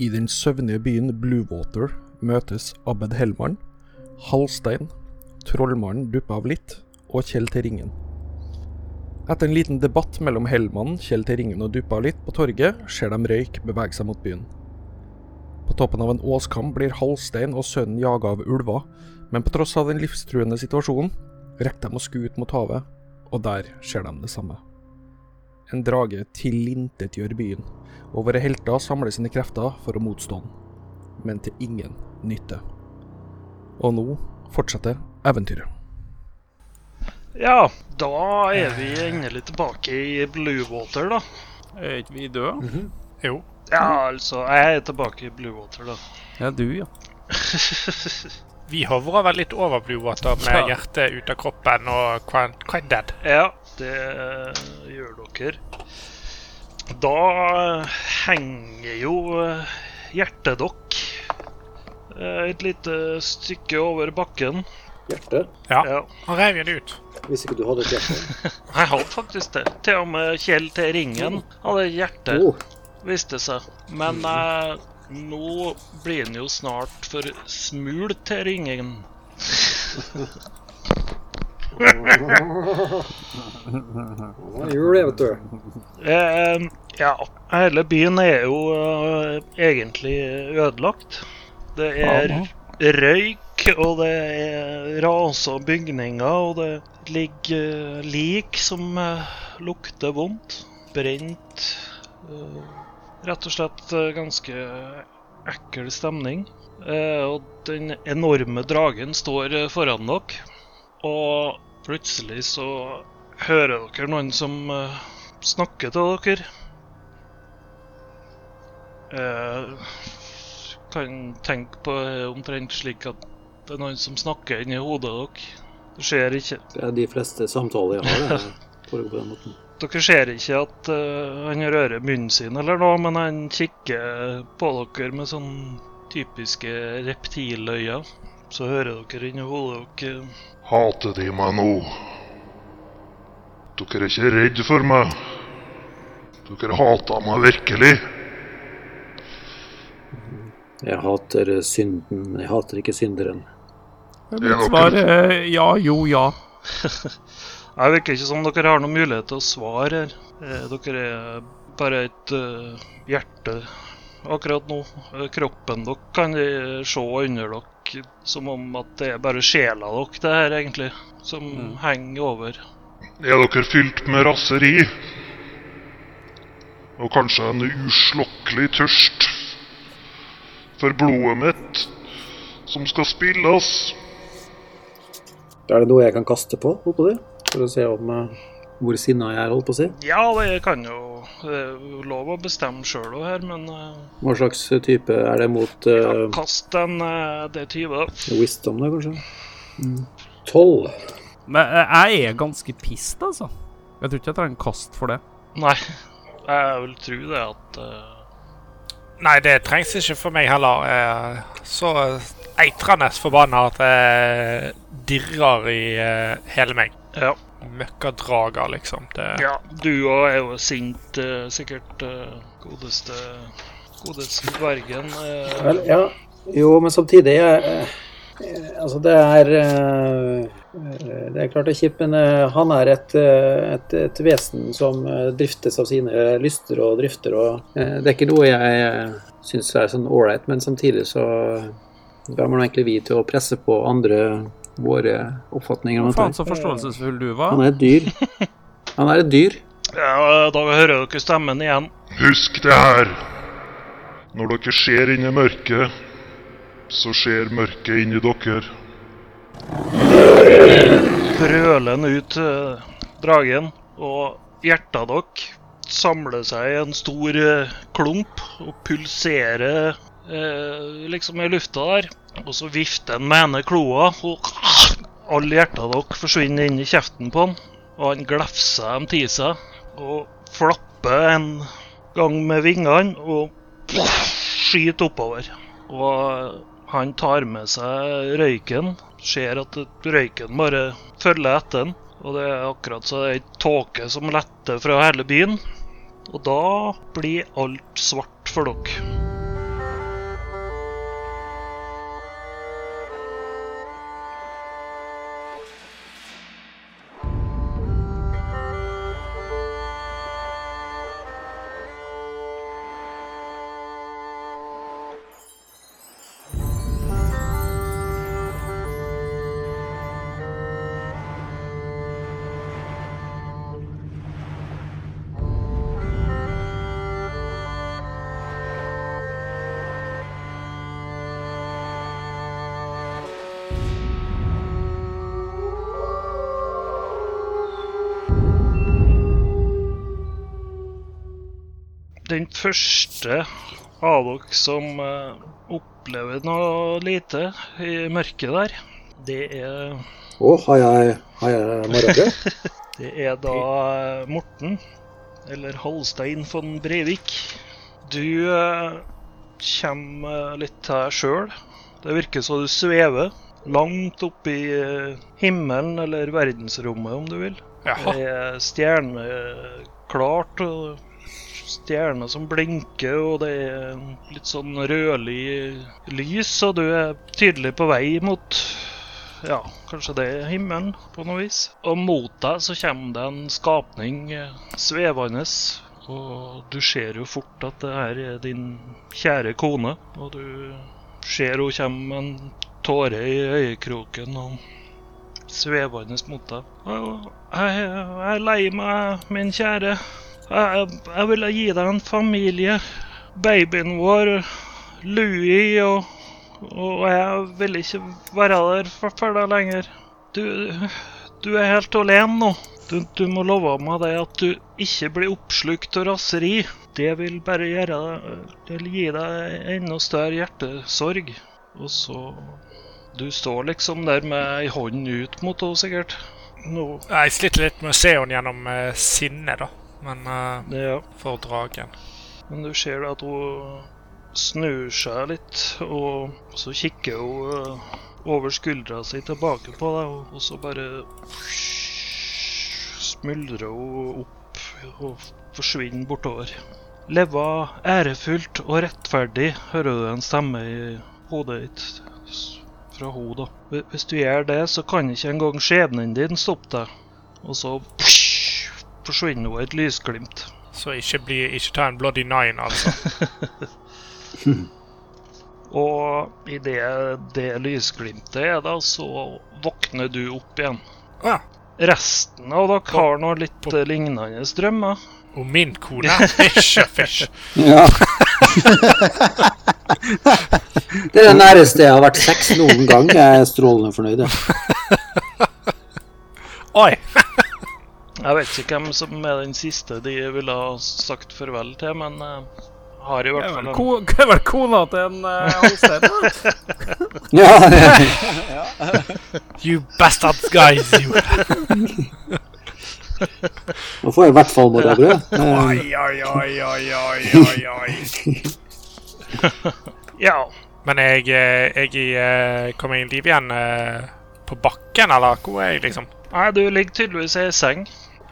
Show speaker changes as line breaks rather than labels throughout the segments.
I den søvnige byen Bluewater møtes Abed Hellmann, Hallstein, trollmannen duppa av litt, og Kjell til ringen. Etter en liten debatt mellom Hellmann, Kjell til ringen og duppa av litt på torget, ser de røyk bevege seg mot byen. På toppen av en åskam blir Hallstein og sønnen jaga av ulver, men på tross av den livstruende situasjonen rekker de å skue ut mot havet, og der ser de det samme. En drage tilintetgjør byen, og våre helter samler sine krefter for å motstå den. Men til ingen nytte. Og nå fortsetter eventyret.
Ja, da er vi endelig tilbake i Bluewater, da.
Er ikke Eh, vi døde?
Jo.
Ja, altså, jeg er tilbake i Bluewater, da.
Ja, du, ja.
Vi hovrer vel litt over Bluewater med
Ja.
hjertet ut av kroppen og quite, quite dead.
ja, det eh, gjør dere. Da eh, henger jo eh, hjertet dokk eh, et lite stykke over bakken.
Hjerte.
Ja.
Ja,
Han reiv jo det ut.
Hvis ikke du hadde et hjerte.
jeg hadde faktisk det. Til og med Kjell til ringen hadde hjerte.
Oh,
viste det seg. Men eh, nå blir den jo snart for smul til ringen.
ja, jul, jeg, vet du.
Eh, ja, hele byen er jo eh, egentlig ødelagt. Det er røyk, og det er raser og bygninger, og det ligger eh, lik som eh, lukter vondt. Brent. eh, rett og slett eh, ganske ekkel stemning. Eh, og den enorme dragen står eh, foran dere, og plutselig så hører dere noen som eh, snakke til dere. Eh, kan tenke på det omtrent slik at det er noen som snakker inni hodet deres. Dere ser ikke,
Det er de fleste samtaler jeg har. Det foregår på den måten.
dere ser ikke at eh, han rører munnen sin eller noe, men han kikker på dere med sånn typiske reptiløyne. Så hører dere inni hodet deres
Hater de meg nå? Dere er ikke redd for meg. Dere hater meg virkelig.
Jeg hater synden. Jeg hater ikke synderen.
Mitt svar eh. er ja, jo, ja.
Det virker ikke som dere har noen mulighet til å svare her. Eh, Dere er bare et eh, hjerte akkurat nå. Eh, Kroppen dere kan de se under dere som om at det er bare sjela dere det her egentlig, som henger over.
Er dere fylt med raseri? Og kanskje en uslokkelig tørst for blodet mitt, som skal spilles?
Er det noe jeg kan kaste på oppå det? For å se om eh, hvor sinna jeg er, holdt på å si.
Ja, det kan jo Det er jo lov å bestemme sjøl òg her, men eh,
Hva slags type er det mot
ja,
eh,
kast en eh, D20, da.
wisdom, da, kanskje? Mm. Tolv.
Men eh, jeg er ganske pissed, altså. Jeg tror ikke jeg trenger kast for det.
Nei, jeg vil tro det at eh,
Nei, det trengs ikke for meg heller. eh, Så eh, eitrende forbanna at jeg dirrer i eh, hele meg.
Ja.
Møkkadrager, liksom. Det,
Ja, du òg er jo sint, eh, sikkert. eh, godeste Godeste dvergen. eh.
Vel, ja. Jo, men samtidig jeg, eh, Altså, det er eh, eh, Det er klart det er kjipt, men eh, han er et, eh, et, et vesen som eh, driftes av sine lyster og drifter, og eh, det er ikke noe jeg syns er sånn ålreit, men samtidig så Hvem er nå egentlig vi til å presse på andre våre oppfatninger om
Hva
dette?
faen så forståelsesfull du
her? Han
var.
er et dyr. Han er et dyr.
Ja, da hører dere stemmen igjen.
Husk det her. Når dere ser inn i mørket, så ser mørket inn i dere.
Brølende ut eh, dragen. Og hjertet dere samler seg i en stor eh, klump og pulserer eh, liksom i lufta der. Og så vifter han med ene kloa, og alle hjertene dere forsvinner inn i kjeften på han. Og han glefser dem til seg og flapper en gang med vingene og skyter oppover. Og han tar med seg røyken, ser at røyken bare følger etter han. Og det er akkurat så det er ei tåke som letter fra hele byen. Og da blir alt svart for dere. den første av dere som eh, opplever noe lite i mørket der, det er,
Å, har jeg, har jeg morgenbrød?
det er da eh, Morten, eller Halstein von Breivik. Du eh, kommer eh, litt til deg sjøl. Det virker som du svever langt opp i eh, himmelen, eller verdensrommet om du vil.
Jaha.
Det er stjerneklart og stjerner som blinker, og det er litt sånn rødlig lys, og du er tydelig på vei mot ja, kanskje det er himmelen, på noe vis. Og mot deg så kommer det en skapning eh, svevende, og du ser jo fort at det her er din kjære kone, og du ser hun kommer med en tåre i øyekroken og svevende mot deg. «Å, Jeg jeg er lei meg, min kjære. Jeg, jeg ville gi deg en familie. Babyen vår, Louie, og, og jeg vil ikke være der for, for deg lenger. Du, du er helt alene nå. Du, du må love meg det at du ikke blir oppslukt av raseri. Det vil bare gjøre deg Det vil gi deg enda større hjertesorg. Og så Du står liksom der med ei hånd ut mot henne, sikkert. Nå
Jeg sliter litt med å se henne gjennom eh, sinnet, da. Men eh,
Ja,
for dragen.
men du ser da at hun snur seg litt, og så kikker hun eh, over skuldra si tilbake på deg, og- og så bare smuldrer hun opp og forsvinner bortover. Leva ærefullt og rettferdig, hører du en stemme i hodet ditt s- fra henne, da. Hvi- Hvis du gjør det, så kan ikke engang skjebnen din stoppe deg. Og så forsvinner hun i et lysglimt.
Så ikke, bli, ikke ta en bloody nine, altså.
Og i det, det lysglimtet er da, så våkner du opp igjen.
Å ja.
Resten av dere har nå litt eh, lignende drømmer.
Og min kone Fisher Fish.
Ja. Det er det næreste jeg har vært sex noen gang. Jeg er strålende fornøyd. jeg.
Oi!
Jeg vet ikke hvem som er den siste de ville ha sagt farvel til, men eh, har i
Det
hvert
er
fall
vel
en
ko- det er vel kona til en uh, Halstein? da?
Ja, det-
You bastard guys, you.
Nå får jeg i hvert fall morgenbrød. Eh,
Oi, oi, oi, oi, oi, oi, oi.
Ja.
Men jeg, eh, jeg eh, kom jeg i liv igjen eh, på bakken, eller hvor er jeg, liksom?
Nei, du ligger tydeligvis i ei seng.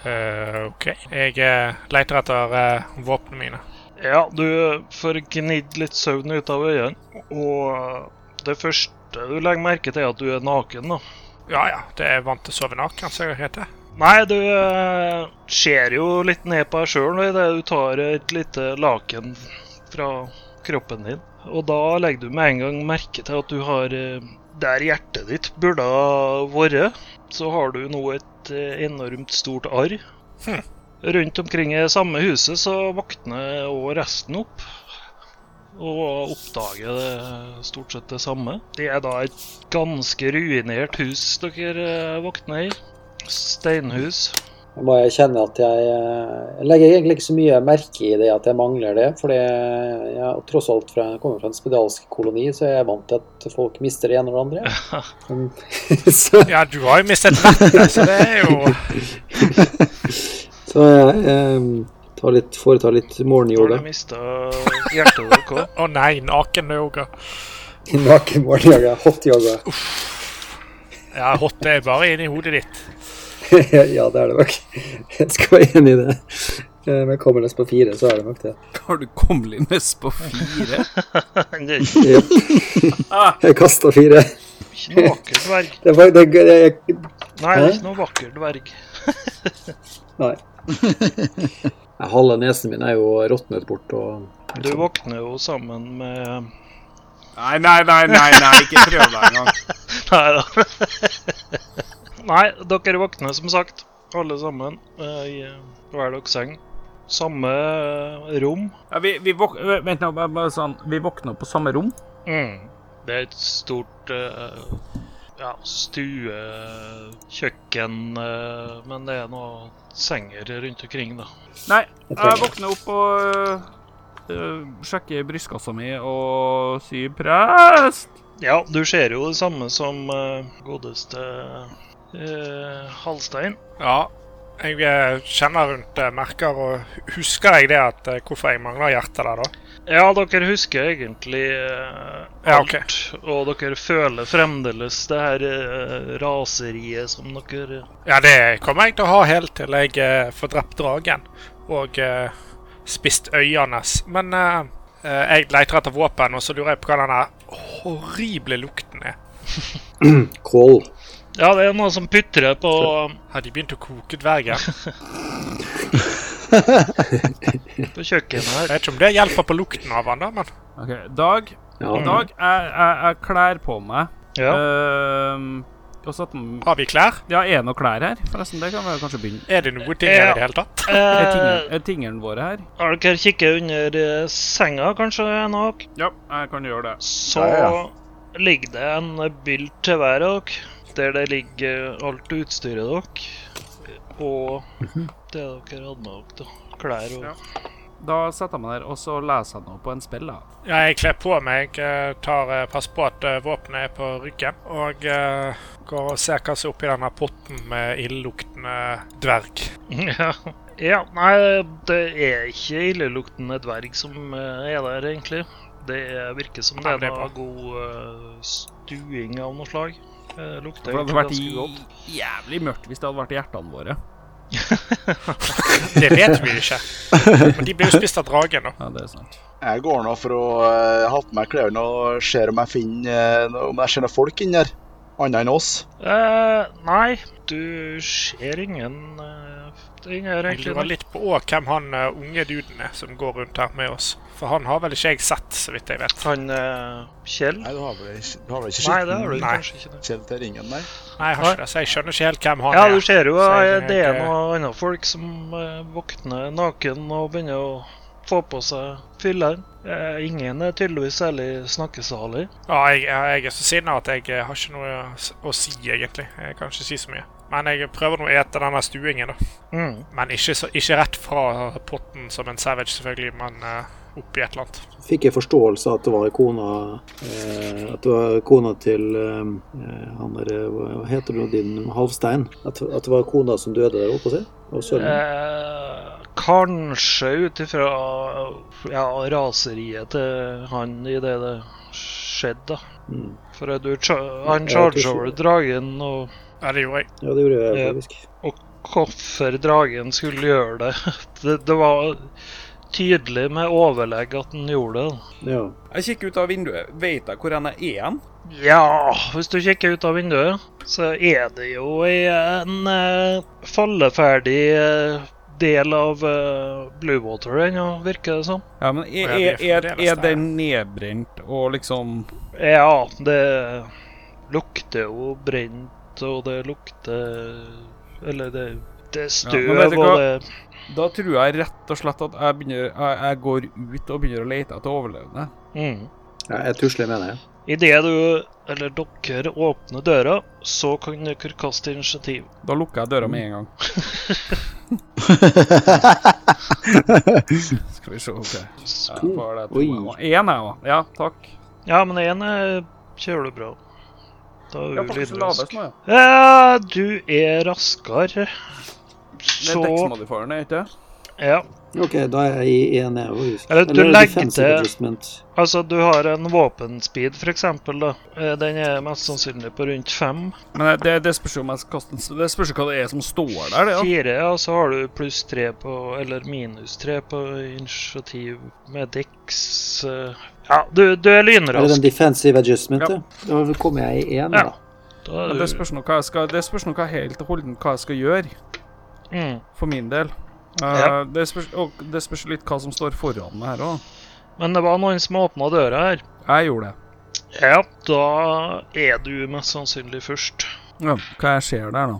Eh, OK. Jeg eh, leter etter eh, våpnene mine.
Ja, du får gnidd litt søvn ut av øynene. Og det første du legger merke til, er at du er naken, da.
Ja ja, det er vant til å sove naken, som det heter.
Nei, du eh, ser jo litt ned på deg sjøl idet du tar et lite laken fra kroppen din. Og da legger du med en gang merke til at du har eh, Der hjertet ditt burde ha vært, så har du nå et eh, enormt stort arr.
Hm.
Rundt omkring i samme huset så våkner òg resten opp. Og oppdager det stort sett det samme. Det er da et ganske ruinert hus dere eh, våkner i. Steinhus.
Jeg må jeg kjenne at jeg, eh, jeg legger egentlig ikke så mye merke i det at jeg mangler det, fordi jeg er tross alt fra, kommer fra en spedalsk koloni, så jeg er vant til at folk mister det ene og det andre. Mm. så
Ja, du har jo mistet vettet, så det er jo
så jeg eh, tar litt, foretar litt
Da har
morgenyoga.
du mista hjertet ditt òg.
Å nei, naken yoga.
Naken morgenyoga, hot yoga.
Ja, hot er bare inni hodet ditt.
ja, det er det nok. Jeg skal være enig i det. Eh, Men kommer nest på fire, så er det nok det.
Har du kommet inn mest på fire?
Ikke
Jeg kasta fire.
noe vakker dverg.
Det var, det, det, jeg,
Nei, det er ikke noe vakker dverg.
nei. Halve nesen min er jo råtnet bort og
Du våkner jo sammen med
Nei, nei, nei, nei, nei ikke prøv deg engang.
Nei da. Nei, dere våkner som sagt, alle sammen, eh, i hver deres seng. Samme eh, rom.
Ja, vi, vi våk vent nå, bare, bare sånn Vi våkner på samme rom.
Mm. Det er et stort eh, ja, stue, kjøkken eh, Men det er noen senger rundt omkring, da.
Nei,
Jeg
jeg
trenger-
våkner opp og øh, eh, sjekke brystkassa mi og si 'prest'.
Ja, du ser jo det samme som eh, godeste eh, Halstein.
Ja. Jeg eh, kjenner rundt eh, merker, og husker jeg det at eh, hvorfor jeg mangler hjertet der, da?
Ja, dere husker egentlig eh, alt.
Ja, ok.
Og dere føler fremdeles det her eh, raseriet som dere
Ja, det kommer jeg til å ha helt til jeg eh, får drept dragen og eh, spist øyene. Men eh, eh, jeg leter etter våpen, og så lurer jeg på hva denne horrible lukten er.
Kål.
Ja, det er noe som putrer på
Har de begynt å koke dvergen?
på kjøkkenet
Jeg
her.
vet ikke om det hjelper på lukten av han da, men
OK, Dag.
Mm.
Ja.
Dag, jeg, jeg, jeg klær på meg.
Ja.
Ehm, og så at den-
har vi klær?
ja, er det noen klær her? Forresten, det kan vi kanskje begynne
Er det noe ting her i det hele tatt?
Er
Eh,
tingene- er tingene våre her?
har dere kikket under eh, senga, kanskje, nok,
Ja, jeg kan gjøre det.
så
Ja,
ligger det en bylt til hver av dere. Der det ligger alt utstyret dere. Og
Mhm.
det dere hadde med dere, da. Klær og
Ja. Da setter jeg meg der, og så leser jeg noe på en spill. da.
Ja, jeg kler på meg, eh, tar, eh, passer på at eh, våpenet er på ryggen, og eh, går og ser hva som er oppi denne potten med illeluktende dverg.
Ja. ja. Nei, det er ikke illeluktende dverg som eh, er der, egentlig. Det er- virker som det
Ja,
er
det er
noe
bra.
god eh, stuing av noe slag. Eh, lukter
For det hadde
egentlig
vært
ganske godt.
i- jævlig mørkt hvis det hadde vært i hjertene våre.
Det vet vi ikke. Men de blir jo spist av dragen, da.
Ja, det er sant.
Jeg går nå for å eh, ha på meg klærne og ser om jeg finner eh, noe- om jeg ser noen folk inni her. Annet enn oss.
Eh, nei, du ser ingen eh, ting her,
Jeg
egentlig.
lurer
nei.
litt på også hvem han eh, unge duden er som går rundt her med oss. For han har vel ikke jeg sett, så vidt jeg vet.
Han eh, Kjell?
Nei, du har vel ikke, du har vel ikke
Nei, det har du
Nei.
kanskje ikke. Nei.
Kjell til ringen, nei?
Nei, jeg har ikke det, så jeg skjønner ikke helt hvem han
Ja,
er.
du ser jo
Så
eh,
jeg-
det er
jeg-
noen andre folk som eh, våkner naken og begynner å få på seg fylleren. Eh, ingen er tydeligvis særlig snakkesalig.
Ja, jeg, jeg er så sinna at jeg eh, har ikke noe å s- å si, egentlig. Jeg kan ikke si så mye. Men jeg prøver nå å ete denne stuingen, da.
Mm.
Men ikke, så, ikke rett fra potten som en savage, selvfølgelig, men eh, oppi et eller annet.
Fikk jeg forståelse av at det var kona eh, At det var kona til eh, han der eh, Hva heter det nå, din Halvstein? At, at det var kona som døde der oppe, se? Og sønnen?
Eh, kanskje ut ifra ja, raseriet til han i det det skjedde, da.
Mm.
For at du, cha- han
Ja, jeg tror
charger over dragen, og
Ja, det gjorde jeg.
Ja, det gjorde jeg
Ja.
faktisk.
hvorfor dragen skulle gjøre det Det, det var tydelig med overlegg at han gjorde det. da.
Ja.
Jeg kikker ut av vinduet. Vet jeg hvor jeg er igjen?
Ja, hvis du kikker ut av vinduet, så er det jo i en eh, falleferdig eh, del av eh, Bluewater ennå, virker det som.
Ja, men er,
Å, ja,
er,
vi er
er,
fremdeles
er den nedbrent og liksom
Ja, det lukter jo brent, og det lukter Eller det, det
Ja,
er
men
støv,
vet du
og
hva?
det
Da tror jeg rett og slett at jeg, begynner, jeg, jeg går ut og begynner å lete etter overlevende.
mm.
ja jeg tusler, mener jeg.
Idet du, eller dere, åpner døra, så kan dere kaste initiativ.
Da lukker jeg døra med en gang. Skal vi se OK. Jeg får det to.
Oi.
Én, jeg òg. Ja, takk.
Ja, men én eh, kjører du bra. Da
Ja,
er du
faktisk
lydløs.
lavest nå, ja.
Ja, du er raskere.
Det er
Så
dekksmodifieren, er det ikke?
Ja.
OK, da er jeg i én jeg, faktisk.
Eller, du
er det
legger
defensive
til-
adjustment?
Altså, du har en våpenspeed, for eksempel, da. Eh, Den er mest sannsynlig på rundt fem.
Men eh, det, det spørs jo om jeg skal kaste en s- Det spørs jo hva det er som står der, det. Ja.
Fire, ja, så har du pluss tre på Eller minus tre på initiativ med Dex. eh. Ja, du, du er
Er det
lynrask.
den defensive adjustment,
Ja.
ja? Da kommer jeg i én,
Ja.
da.
Da
Men
er
det
du,
spørs nå hva jeg skal Det spørs nå hva helt og holdent hva jeg skal gjøre,
mm.
for min del. Eh,
Ja.
det, spørs, og det spørs litt hva som står foran meg her òg.
Men det var noen som åpna døra her.
Jeg gjorde det.
Ja, da er du mest sannsynlig først.
Ja, hva jeg ser der, da?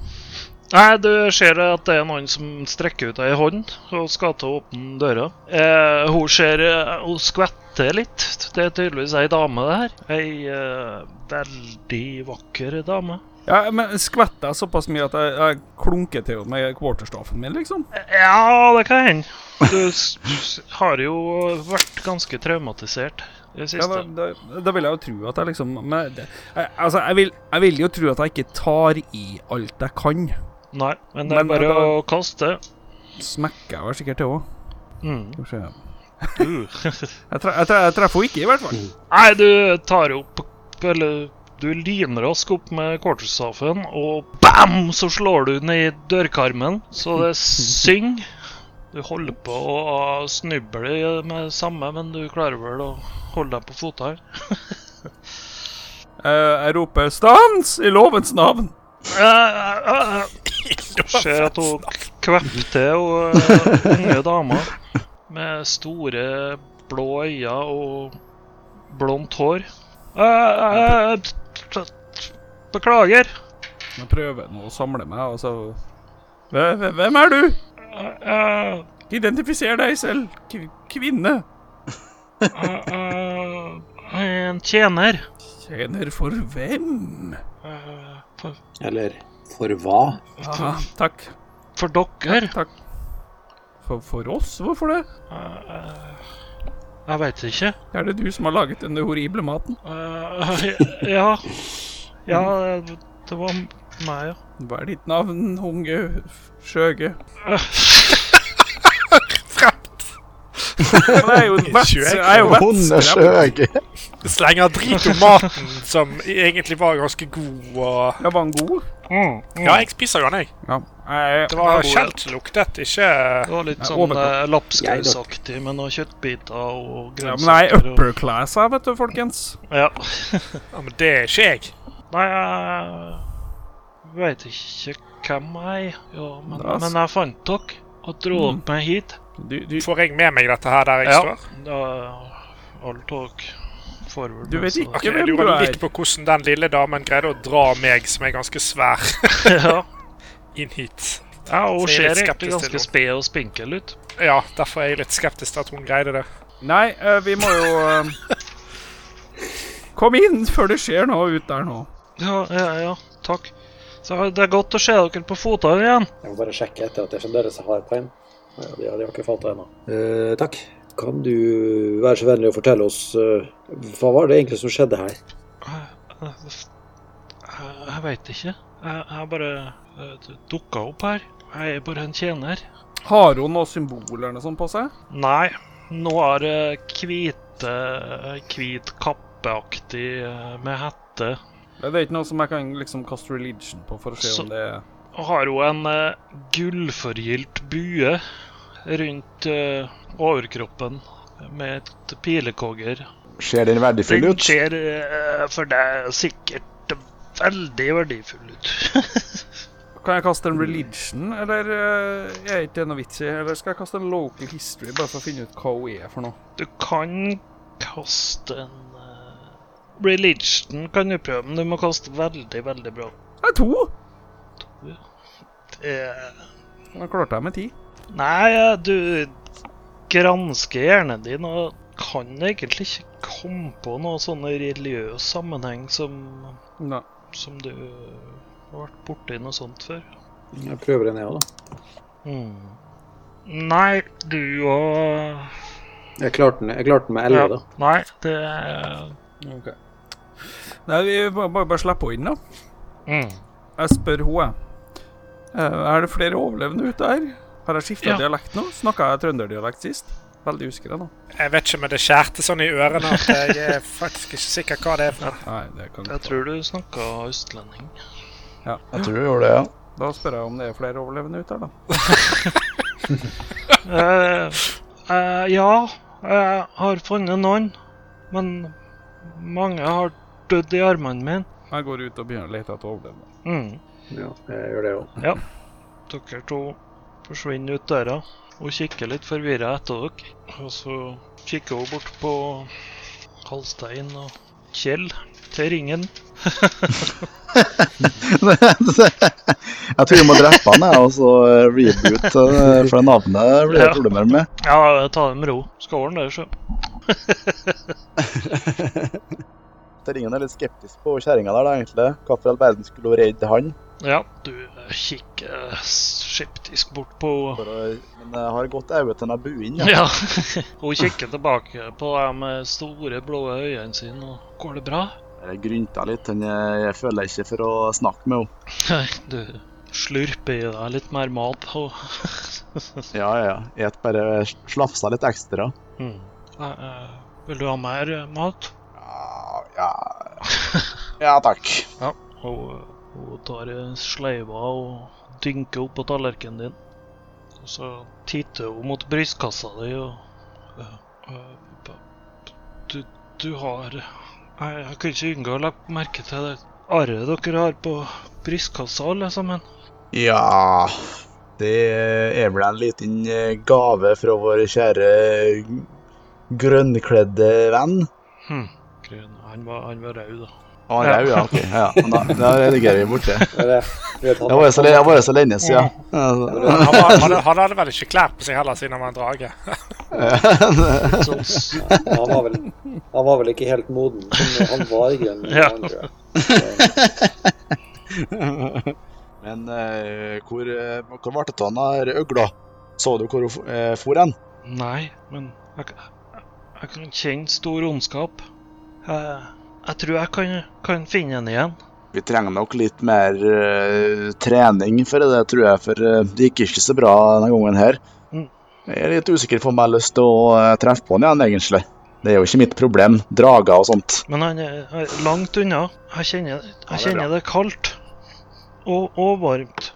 Nei, du ser at det er noen som strekker ut ei hånd og skal til å åpne døra. Eh, hun ser eh, Hun skvetter litt. Det er tydeligvis ei dame, det her. Ei eh, veldig vakker dame.
Ja, men skvetter jeg såpass mye at jeg, jeg klunker til med quarterstaffen min, liksom?
Ja, det kan hende. Du s- s- har jo vært ganske traumatisert i det
Ja, da,
siste.
da, da vil jeg jo tro at jeg liksom men det, jeg, Altså, jeg vil, jeg vil jo tro at jeg ikke tar i alt jeg kan.
Nei, men det er
Men
bare
da-
å kaste.
Smekker jeg vel sikkert til òg.
Mm.
Skal vi se.
Uh.
Jeg, tre, jeg, tre, jeg treffer henne ikke, i hvert fall.
Nei, du tar opp Eller du liner rask opp med quarterstaffen, og bam, så slår du ned dørkarmen, så det synger. Du holder på å snuble med samme, men du klarer vel å holde deg på fota her.
Jeg, Eh, jeg roper 'stans!' i lovens navn.
Eh, eh, eh, Ser at hun kvepper til, hun eh, unge dama med store, blå øyne og blondt hår. Eh, eh, eh, Beklager.
Jeg prøver nå å samle meg, og så Hve- hve- Hvem er du?
Eh,
Identifiser deg selv, kv- kvinne.
eh, eh, En tjener.
Tjener for hvem?
Eh, For,
Eller for hva?
Aha, takk.
for dere.
Takk. For, for oss? Hvorfor det?
Eh, eh, Jeg veit ikke.
Er det du som har laget denne horrible maten?
Eh, Ja. Ja, det- det var meg, ja.
Hva er ditt navn, unge skjøge? Men Jeg er jo vets- jeg er jo vettskrem.
Hundeskjøge.
Slenger drit om maten, som e-, egentlig var ganske god og
Ja, var han god?
Mm, mm.
Ja, jeg spiser jo den, jeg.
Ja. Jeg,
Det var
Den er god,
skjeltluktet, ikke
Det var litt
Nei,
sånn
overkropp.
eh, lapskausaktig med noen kjøttbiter og
ja, men jeg
grønnsaker.
er
og-
upper class her, vet du, folkens.
Ja.
Ja, men det er ikke jeg.
Nei, jeg veit ikke hvem jeg er, ja, men,
Da s-
men jeg fant dere og dro
Mm.
meg hit.
Du, du,
Får jeg med meg dette her der jeg
Ja.
står?
Da, alle dere får vel
Du
med
vet
seg
ikke
Jeg
hvem du
lurer
er.
litt på hvordan den lille damen greide å dra meg, som er ganske svær,
det. ja.
inn hit.
ja,
Så
hun
jeg er
ser egentlig
litt skeptisk til
ganske sped og spinkel ut.
Ja, derfor er jeg litt skeptisk til at hun greide det.
Nei, eh, vi må jo eh, Kom inn før det skjer noe ut der nå.
Ja, ja, ja, takk. Så Det er godt å se dere på fotene igjen.
Jeg må bare sjekke etter at jeg fremdeles har tegn. Ja, de har de har ikke falt ennå. Eh, takk. Kan du være så vennlig å fortelle oss eh, hva var det egentlig som skjedde her?
Jeg, jeg veit ikke. Jeg, jeg bare eh, dukka opp her. Jeg er bare en tjener.
Har hun noen symboler eller noe sånt på seg?
Nei. Nå er det hvite eh, Hvit kappeaktig eh, med hette.
Det er ikke noe som jeg kan liksom kaste religion på for å se
Så-
om det er
Og har hun en eh, gullforgylt bue rundt eh, overkroppen med et pilekogger.
Ser den verdifull
Den
ut?
ser eh, for deg sikkert veldig verdifull ut.
Kan jeg kaste en religion, eller eh, er ikke det noe vits i? Eller skal jeg kaste en local history, bare for å finne ut hva hun er for noe?
Du kan kaste en eh, Religion kan du prøve, men du må kaste veldig, veldig bra.
Det er to!
Eh,
Da klarte jeg med ti.
Nei, du gransker hjernen din og kan egentlig ikke komme på noe sånn religiøs sammenheng som,
Nei.
som du har vært borti noe sånt før. Mm.
Jeg prøver en, jeg òg, da.
Nei, du og
Jeg klarte den, jeg klarte den med 11,
Ja.
da.
Nei, det er
Ok. Nei, vi bare, bare, bare slipper henne inn, da.
mm,
Jeg spør henne, jeg. Eh, Er det flere overlevende ute her? Har jeg skifta
Ja.
dialekt nå? Snakka jeg trønderdialekt sist? Veldig usikker jeg nå.
Jeg vet ikke, men det skjærte sånn i ørene at jeg er faktisk ikke sikker hva det er. for noe.
Nei, det kan
Jeg tror du snakka østlending.
Jeg tror du gjorde det, ja.
Da spør jeg om det er flere overlevende ute her, da.
Eh, eh, ja, jeg har funnet noen, men mange har dødd i armene mine.
Jeg går ut og begynner å lete etter overlevende.
Mm.
Ja, jeg gjør det òg.
Dere to forsvinner ut døra. Hun kikker litt forvirra etter dere. Og så kikker hun bort på Halstein og Kjell til ringen.
jeg tror vi må drepe han, jeg, og så reboot, eh, for det navnet blir det problemer med.
Ja, ta det med ro. Skal ordne det, sjø.
Terrengen er litt skeptisk på kjerringa der, da, egentlig. Hvorfor i all verden skulle hun redde han?
Ja, du eh, kikker skeptisk bort på
For å, men jeg har godt øye til å bue inn. Ja.
Ja. Hun kikker tilbake på de store, blå øynene sine. og Går det bra?
Jeg grynta litt. men Jeg, jeg føler ikke for å snakke med henne.
Du slurper i deg litt mer mat. Og
Ja, ja. Jeg et bare slafsa litt ekstra.
Nei, eh, Vil du ha mer eh, mat?
Ja, ja. ja takk.
Hun, hun tar eh, sleiva og dynker opp på tallerkenen din. Og så titter hun mot brystkassa di og eh, eh, Du, du har Nei, Jeg kunne ikke unngå å legge merke til det arret dere har på brystkassa, alle sammen.
Ja Det er vel en liten eh, gave fra vår kjære grønnkledde venn.
Grønn, Han var, han var rød, da.
Å, ah, ja. ja, ok. Ja, ja. Da, da redigerer vi bort det.
Det er det. Du vet,
Det
han,
var jo så, le- det var jo så lenge siden.
Han, var, han, han hadde vel ikke klær på seg heller, siden han var en drage.
Sånn s-
han, var vel, han var vel ikke helt moden. men Han var grønn.
Ja.
han, tror jeg.
Men eh, hvor, eh, hvor ble det av den der øgla? Så du hvor hun f- eh, for hen?
Nei, men jeg, k- jeg, jeg kan kjenne stor ondskap. Jeg, jeg tror jeg kan, kan finne henne igjen.
Vi trenger nok litt mer eh, trening for det, tror jeg, for eh, det gikk ikke så bra denne gangen her.
Mm.
Jeg er litt usikker på om jeg har lyst til å eh, treffe på han igjen, egentlig. Det er jo ikke mitt problem. Drager og sånt.
Men han er er langt unna. Jeg kjenner,
Ja,
jeg
det er bra.
kjenner det er kaldt. Og, og varmt.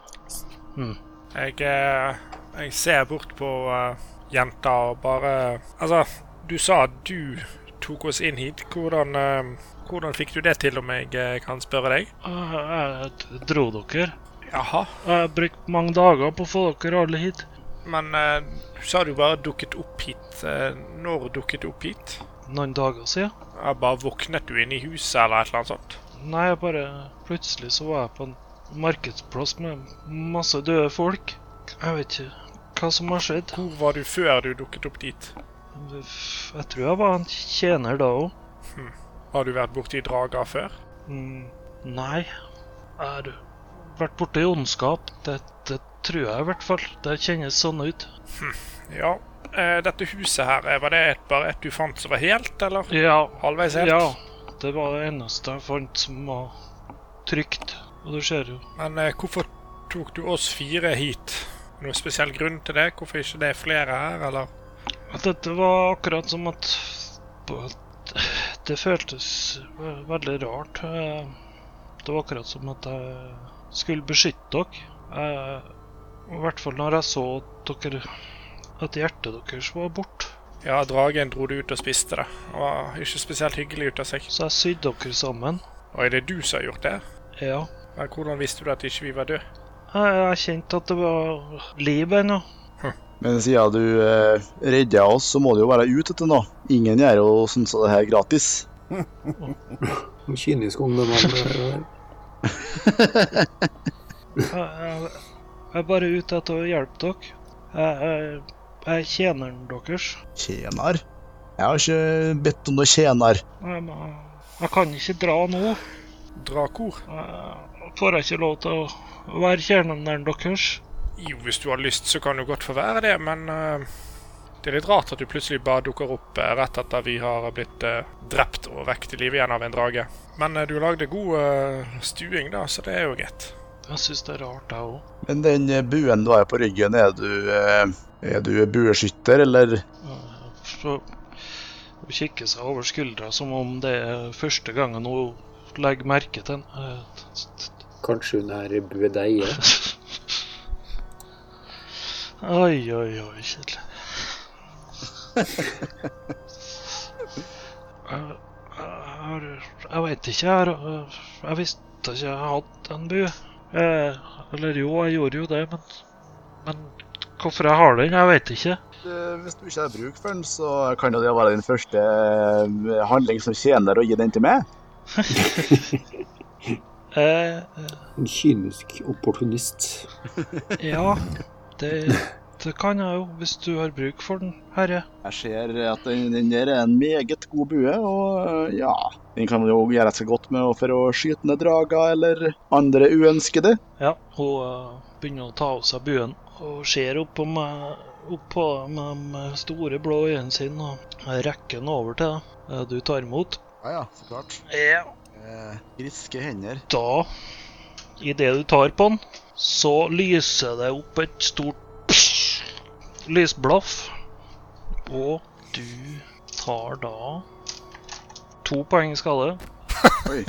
Jeg, eh, jeg ser bort på eh, jenta og bare Altså, du sa at du tok oss inn hit. Hvordan, eh, hvordan fikk du det til, om jeg eh, kan spørre deg?
Jeg, jeg d- dro dere.
Jaha.
Jeg brukte mange dager på å få dere alle hit.
Men eh, du sa du bare dukket opp hit. Eh, når dukket du opp hit?
Noen dager siden.
Jeg bare våknet du inne i huset, eller et eller annet sånt?
Nei, jeg bare Plutselig så var jeg på en markedsplass med masse døde folk. Jeg vet ikke hva som har skjedd.
Hvor var du før du dukket opp dit?
Jeg tror jeg var en tjener da òg.
Har du vært borti drager før?
Mm, nei. Jeg har vært borte i ondskap. Det, det tror jeg i hvert fall. Det kjennes sånn ut.
Ja. Eh, dette huset her, eh, var det et, bare et du fant som var helt, eller?
Ja.
Halvveis helt?
ja. Det var det eneste jeg fant som var trygt. Og du ser jo
Men eh, hvorfor tok du oss fire hit? Noen spesiell grunn til det? Hvorfor ikke det er flere her, eller?
at dette var akkurat som at at Det føltes ve- veldig rart. Eh, Det var akkurat som at jeg skulle beskytte dere. Eh, I hvert fall når jeg så at dere At hjertet deres var borte.
Ja, dragen dro det ut og spiste det. Det var ikke spesielt hyggelig ut av seg.
Så jeg sydde dere sammen.
Og er det du som har gjort det?
Ja.
Men hvordan visste du at ikke vi var døde?
Jeg, jeg kjente at det var liv ennå.
Men siden du eh, redda oss, så må du jo være ute etter noe. Ingen gjør jo sånn som det her gratis.
En Kynisk ungdom. han,
Jeg, jeg, jeg er bare ute etter å hjelpe dere. Jeg, jeg, jeg er tjeneren deres.
Tjener? Jeg har ikke bedt om noe tjener.
Jeg, må- jeg kan ikke dra nå.
Drakor?
Jeg Eh, får jeg ikke lov til å være tjeneren deres?
Jo, hvis du har lyst, så kan du godt få være det, men eh, det er litt rart at du plutselig bare dukker opp eh, rett etter vi har blitt eh, drept og vekket i live igjen av en drage. Men eh, du lagde god eh, stuing, da, så det er jo greit.
Jeg syns det er rart, jeg òg.
Men den eh, buen du har på ryggen, er du, eh, er du bueskytter, eller?
Så hun kikker seg over skuldra som om det er første gangen hun legger merke til den. Eh,
Kanskje hun er budeie.
Oi, oi, oi, kjedelig. jeg, jeg, jeg vet ikke, jeg, har- jeg visste ikke jeg hadde en bue. Eh, eller jo, jeg gjorde jo det, men, men hvorfor jeg har den, jeg vet ikke.
Eh, Hvis du ikke har bruk for den, så kan jo det være din første eh, handling som tjener å gi den til meg.
Eh,
En kynisk opportunist.
ja, det, Det kan jeg jo, hvis du har bruk for den, herre.
Jeg ser at den, den der er en meget god bue, og øh, ja Den kan jo gjøre seg godt med å- for å skyte ned drager eller andre uønskede.
Ja, hun eh, begynner å ta av seg buen og ser opp på meg, opp på meg med store blå øynene sine og rekker den over til deg. Eh, Du tar imot.
Ja ja, så klart.
Ja.
Eh, Griske hender.
Da, idet du tar på den, så lyser det opp et stort lysblaff. Og du tar da to poeng skade.
Oi.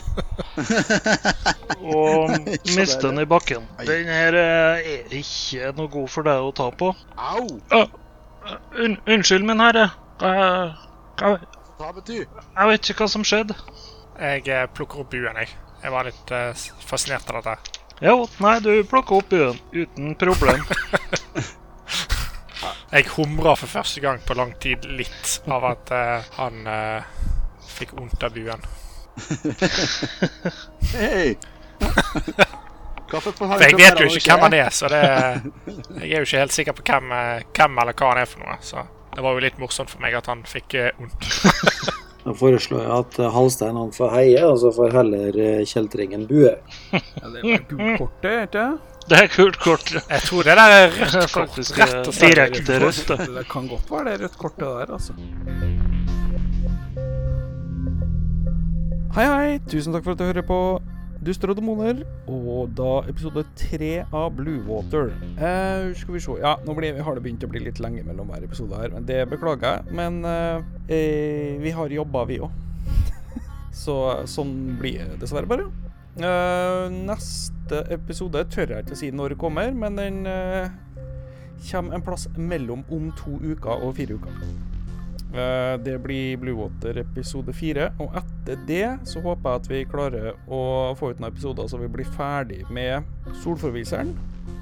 og
Så
mister
der,
den i bakken.
Ai.
Den her eh, er ikke noe god for deg å ta på.
Au!
Un unnskyld, min herre. Jeg, jeg,
Hva betyr
jeg vet ikke hva som skjedde.
Jeg eh, plukker opp buen, jeg. Jeg var litt eh, s- fascinert av dette.
Jo, nei, du plukker opp buen uten problem.
Jeg humra for første gang på lang tid litt av at eh, han eh, fikk vondt av buen.
Hei! Kaffe på
For jeg vet jo ikke hvem han er, så det Jeg er jo ikke helt sikker på hvem, eh, hvem eller hva han er for noe, så det var jo litt morsomt for meg at han fikk eh, vondt.
Da foreslår jeg at eh, Halstein han får heie, og så får heller eh, kjeltringen bue.
Ja, det var gult kort, det, ikke det?
Det er kult kort.
Jeg tror det der er rett kort.
Faktisk
Rett og
eh,
slett.
direkte rødt. det.
Det kan godt være det rødt kortet der, altså.
Hei, hei! Tusen takk for at du hører på Duster og demoner. Og da episode tre av Bluewater. Eh, skal vi se Ja, nå blir, har det begynt å bli litt lenge mellom hver episode her, men det beklager jeg. Men eh, eh, vi har jobba, vi òg. Så sånn blir det dessverre bare. Eh, neste episode tør jeg ikke å si når det kommer, men den eh, kommer en plass mellom om to uker og fire uker. Eh, Det blir Bluewater episode fire. Og etter det så håper jeg at vi klarer å få ut noen episoder så vi blir ferdig med Solforviseren.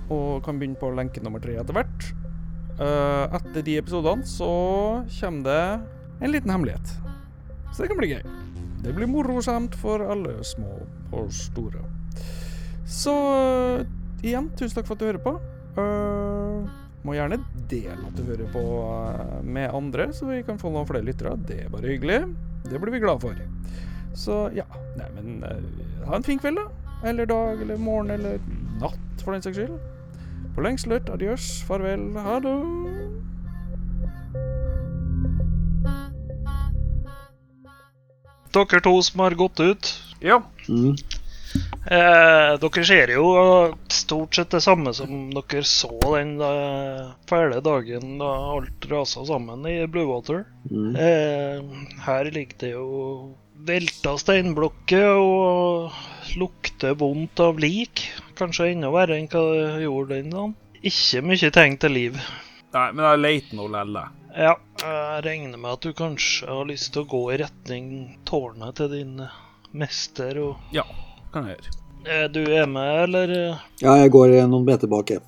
Og kan begynne på lenke nummer tre etter hvert. Eh, Etter de episodene så kommer det en liten hemmelighet. Så det kan bli gøy. Det blir morsomt for alle små og store. Så eh, igjen, tusen takk for at du hører på. Eh, må gjerne dele at du hører på eh, med andre, så vi kan få noen flere lyttere. Det er bare hyggelig. Det blir vi glad for. Så ja. Nei, men eh, ha en fin kveld, da. Eller dag, eller morgen, eller natt, for den saks skyld. På lengst lørt. Adjøs. Farvel. Ha det.
Dere to som har gått ut,
Ja.
Mm.
Eh, dere ser jo stort sett det samme som dere så den eh, fæle dagen da alt rasa sammen i Bluewater.
Mm.
Eh, her ligger det jo velta steinblokker og lukter vondt av lik. Kanskje enda verre enn hva det gjorde den dagen. Ikke mye tegn til liv.
Nei, men jeg leter nå lelle.
Ja, jeg regner med at du kanskje har lyst til å gå i retning tårnet til din eh, mester og
Kan jeg gjøre.
Eh, Du er med, eller? eh?
Ja, jeg går eh, noen meter bak. jeg.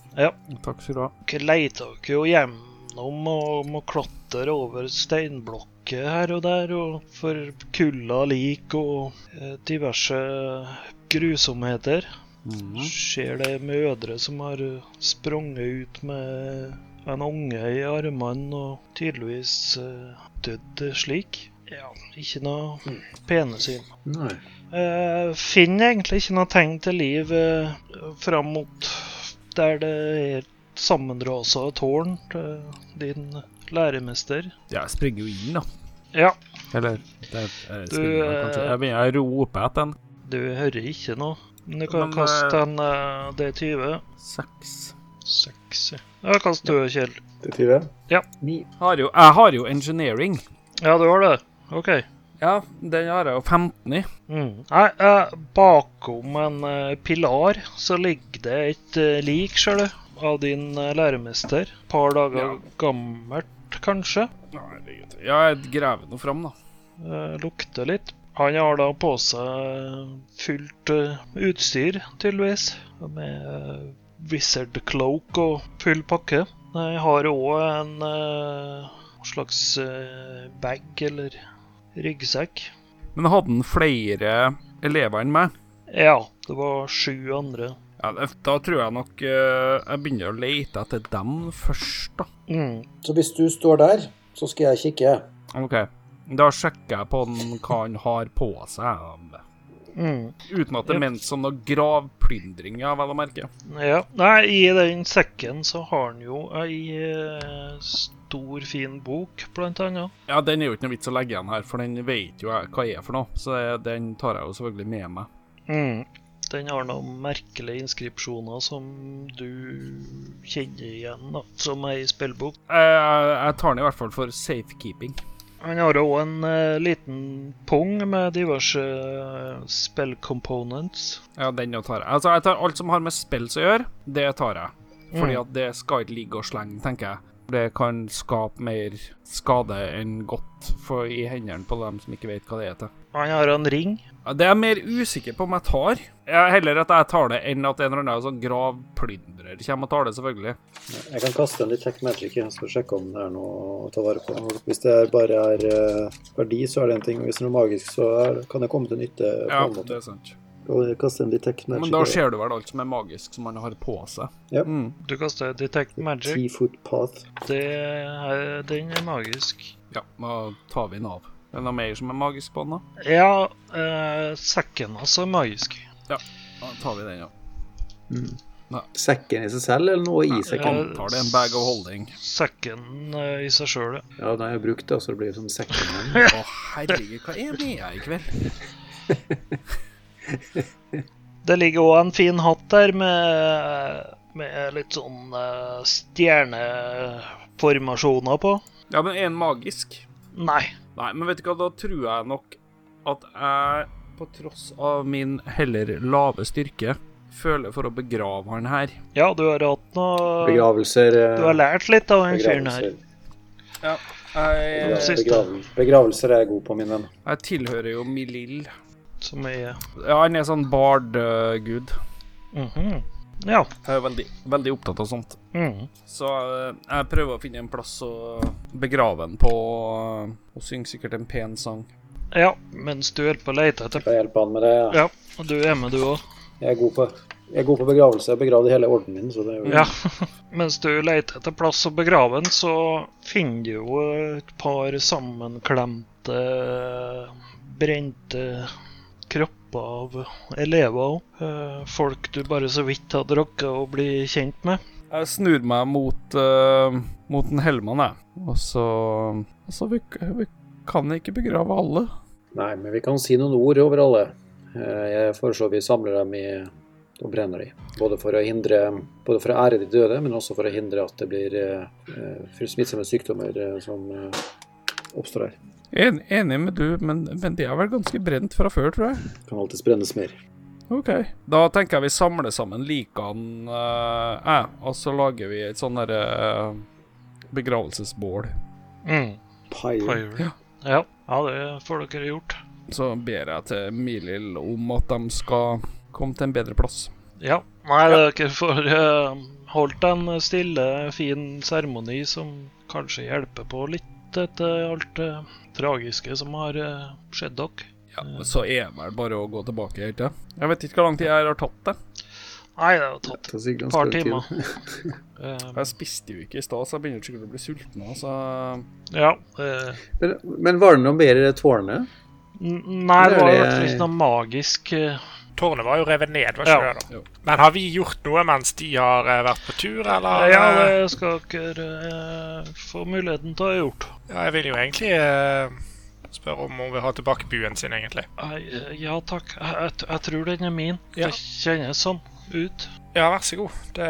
Takk skal du ha.
Dere leter dere jo gjennom og må klatre over steinblokker her og der, og for kulla lik og eh, diverse grusomheter. Ser det mødre som har eh, sprunget ut med en unge i armene og tydeligvis eh, dødd slik. Ja, ikke noe pene syn.
Nei.
Eh, finner egentlig ikke noe tegn til liv eh, fram mot der det er et sammenrasa tårn til din læremester.
Jeg springer jo inn, da.
Ja,
Eller det er, jeg,
Du,
springer, vel kanskje.
eh,
jeg, begynner- jeg roper etter en
du hører ikke noe. Men du kan
Men,
kaste
eh,
en eh, D20.
seks.
Seks Ja, kast du, Kjell.
Det er 20?
Ja.
Ni.
Har jo, jeg har jo engineering.
Ja, du har det? OK.
Ja, den har jeg jo 15 i.
Mm. Nei, eh, bakom en eh, pilar så ligger det et eh, lik, ser du, av din eh, læremester. Par dager gammelt, kanskje.
Herregud. Ja, jeg graver nå fram, da.
Eh, lukter litt. Han har da på seg fullt eh, utstyr, tydeligvis. Med eh, wizard cloak og full pakke. Jeg har òg en eh, slags eh, bag eller ryggsekk.
Men hadde han flere elever enn meg?
Ja, det var sju andre.
Ja,
Ja, det- da tror jeg nok eh, jeg begynner å lete etter dem først, da.
Så hvis du står der, så skal jeg kikke.
OK. Da sjekker jeg på den, hva han har på seg. Uten at det er ment som noe gravplyndring, ja, vel å merke.
Ja. Nei, i den sekken så har han jo ei eh, stor, fin bok, blant annet.
Ja, den er jo ikke noe vits å legge igjen her, for den vet jo jeg hva er for noe. Så eh, den tar jeg jo selvfølgelig med meg.
Mm. Den har noen merkelige inskripsjoner som du kjenner igjen, da, som ei spillbok.
Jeg, Eh, jeg tar den i hvert fall for safekeeping.
Han har òg en eh, liten pung med diverse eh, spill components.
Ja, den jo tar jeg. Altså, jeg tar alt som har med spill å gjøre, det tar jeg. Fordi at det skal ikke ligge og slenge, tenker jeg. Det kan skape mer skade enn godt for, i hendene på dem som ikke vet hva det er til.
Han har en ring.
Ja, Det er jeg mer usikker på om jeg tar. Jeg, heller at jeg tar det, enn at en eller annen sånn gravplyndrer kommer og tar det, selvfølgelig.
Jeg kan kaste en litt tech magic igjen, så sjekke om det er noe å ta vare på. Hvis det er bare er eh, verdi, så er det en ting. Hvis det er noe magisk, så er, kan det komme til nytte. på
Ja,
en måte.
det er sant.
Og jeg kaster en litt tech magic.
Men da ser du vel alt som er magisk som man har på seg.
Ja.
Mm.
Du kaster Detect Magic.
10 foot path.
Det er, den er magisk.
ja, da tar vi den av. Er det noe mer som er magisk på den, da?
Ja, eh, sekken altså er magisk.
Da tar vi den, ja.
Sekken i seg selv, eller noe i
Jeg
sekken?
antar det er en bag of holding.
Sekken eh, i seg sjøl, ja.
Ja, den er jo brukt, da, så det blir jo som sekken.
Å, herregud, hva er med jeg i kveld?
Det ligger òg en fin hatt der med, med litt sånn eh, stjerneformasjoner på.
Ja, men er den magisk?
Nei.
Nei, men vet du hva, da tror jeg nok at jeg, på tross av min heller lave styrke, føler for å begrave han her.
Ja, du har hatt noe
Begravelser. eh,
Du har lært litt av den fyren her.
begravelser.
Jeg,
Den siste,
Begravel- Begravelser er jeg god på, min venn.
jeg tilhører jo Milil.
som er
Ja, han er sånn bard-gud.
Mhm. Ja.
Jeg er veldig, veldig opptatt av sånt.
Mhm.
Så eh, jeg prøver å finne en plass å begrave han på, eh, og synge sikkert en pen sang.
ja. Mens du holder på å lete etter
Kan jeg hjelpe han med det?
Ja, og du er med, du òg.
Jeg er god på, jeg er god på begravelse. Jeg begravde hele orden min, så det er jo
Ja. Mm. Mens du leter etter plass å begrave den, så finner du jo et par sammenklemte, brente kropper av elever òg. Folk du bare så vidt hadde rukket å bli kjent med.
Jeg snur meg mot, eh, mot en Hellmann, jeg. Og så Altså, vi, vi kan ikke begrave alle.
Nei, men vi kan si noen ord over alle. Eh, Jeg foreslår vi samler dem i og brenner dem. Både for å hindre, både for å ære de døde, men også for å hindre at det blir eh, eh, smittsomme sykdommer eh, som eh, oppstår her.
En, enig med du, men, men det er vel ganske brent fra før, tror jeg.
Kan alltids brennes mer.
OK. Da tenker jeg vi samler sammen likene, eh, jeg, og så lager vi et sånn derre begravelsesbål.
Mm.
Pyre.
Ja. Ja. ja, det får dere gjort.
Så ber jeg til Milil om at de skal komme til en bedre plass.
Ja. Nei, dere får eh, holdt en stille, fin seremoni som kanskje hjelper på litt etter alt det tragiske som har eh, skjedd dere.
Ja, Så er det vel bare å gå tilbake, ikke sant? Jeg vet ikke hvor lang tid jeg har tatt det.
Nei, det har tatt
Ta sikkert en
et par
spennende
timer.
tid.
Eh,
Jeg spiste jo ikke i stad, så jeg begynner sikkert å bli sulten. Altså.
ja. eh,
Men, men var det noe mer i det tårnet?
n- Nei, det
Det er
var i
det-
hvert fall ikke noe sånn magisk. eh,
Tårnet var jo revet ned, var ikke
Ja.
det?
Jo.
da? Men har vi gjort noe mens de har eh, vært på tur, eller?
Ja, det skal dere eh, få muligheten til å ha gjort.
Ja, jeg vil jo egentlig eh, spørre om hun vil ha tilbake buen sin, egentlig.
Nei, eh, Ja takk, jeg, jeg, t- jeg tror den er min.
Ja.
Det kjennes sånn ut.
Ja, vær så god. Det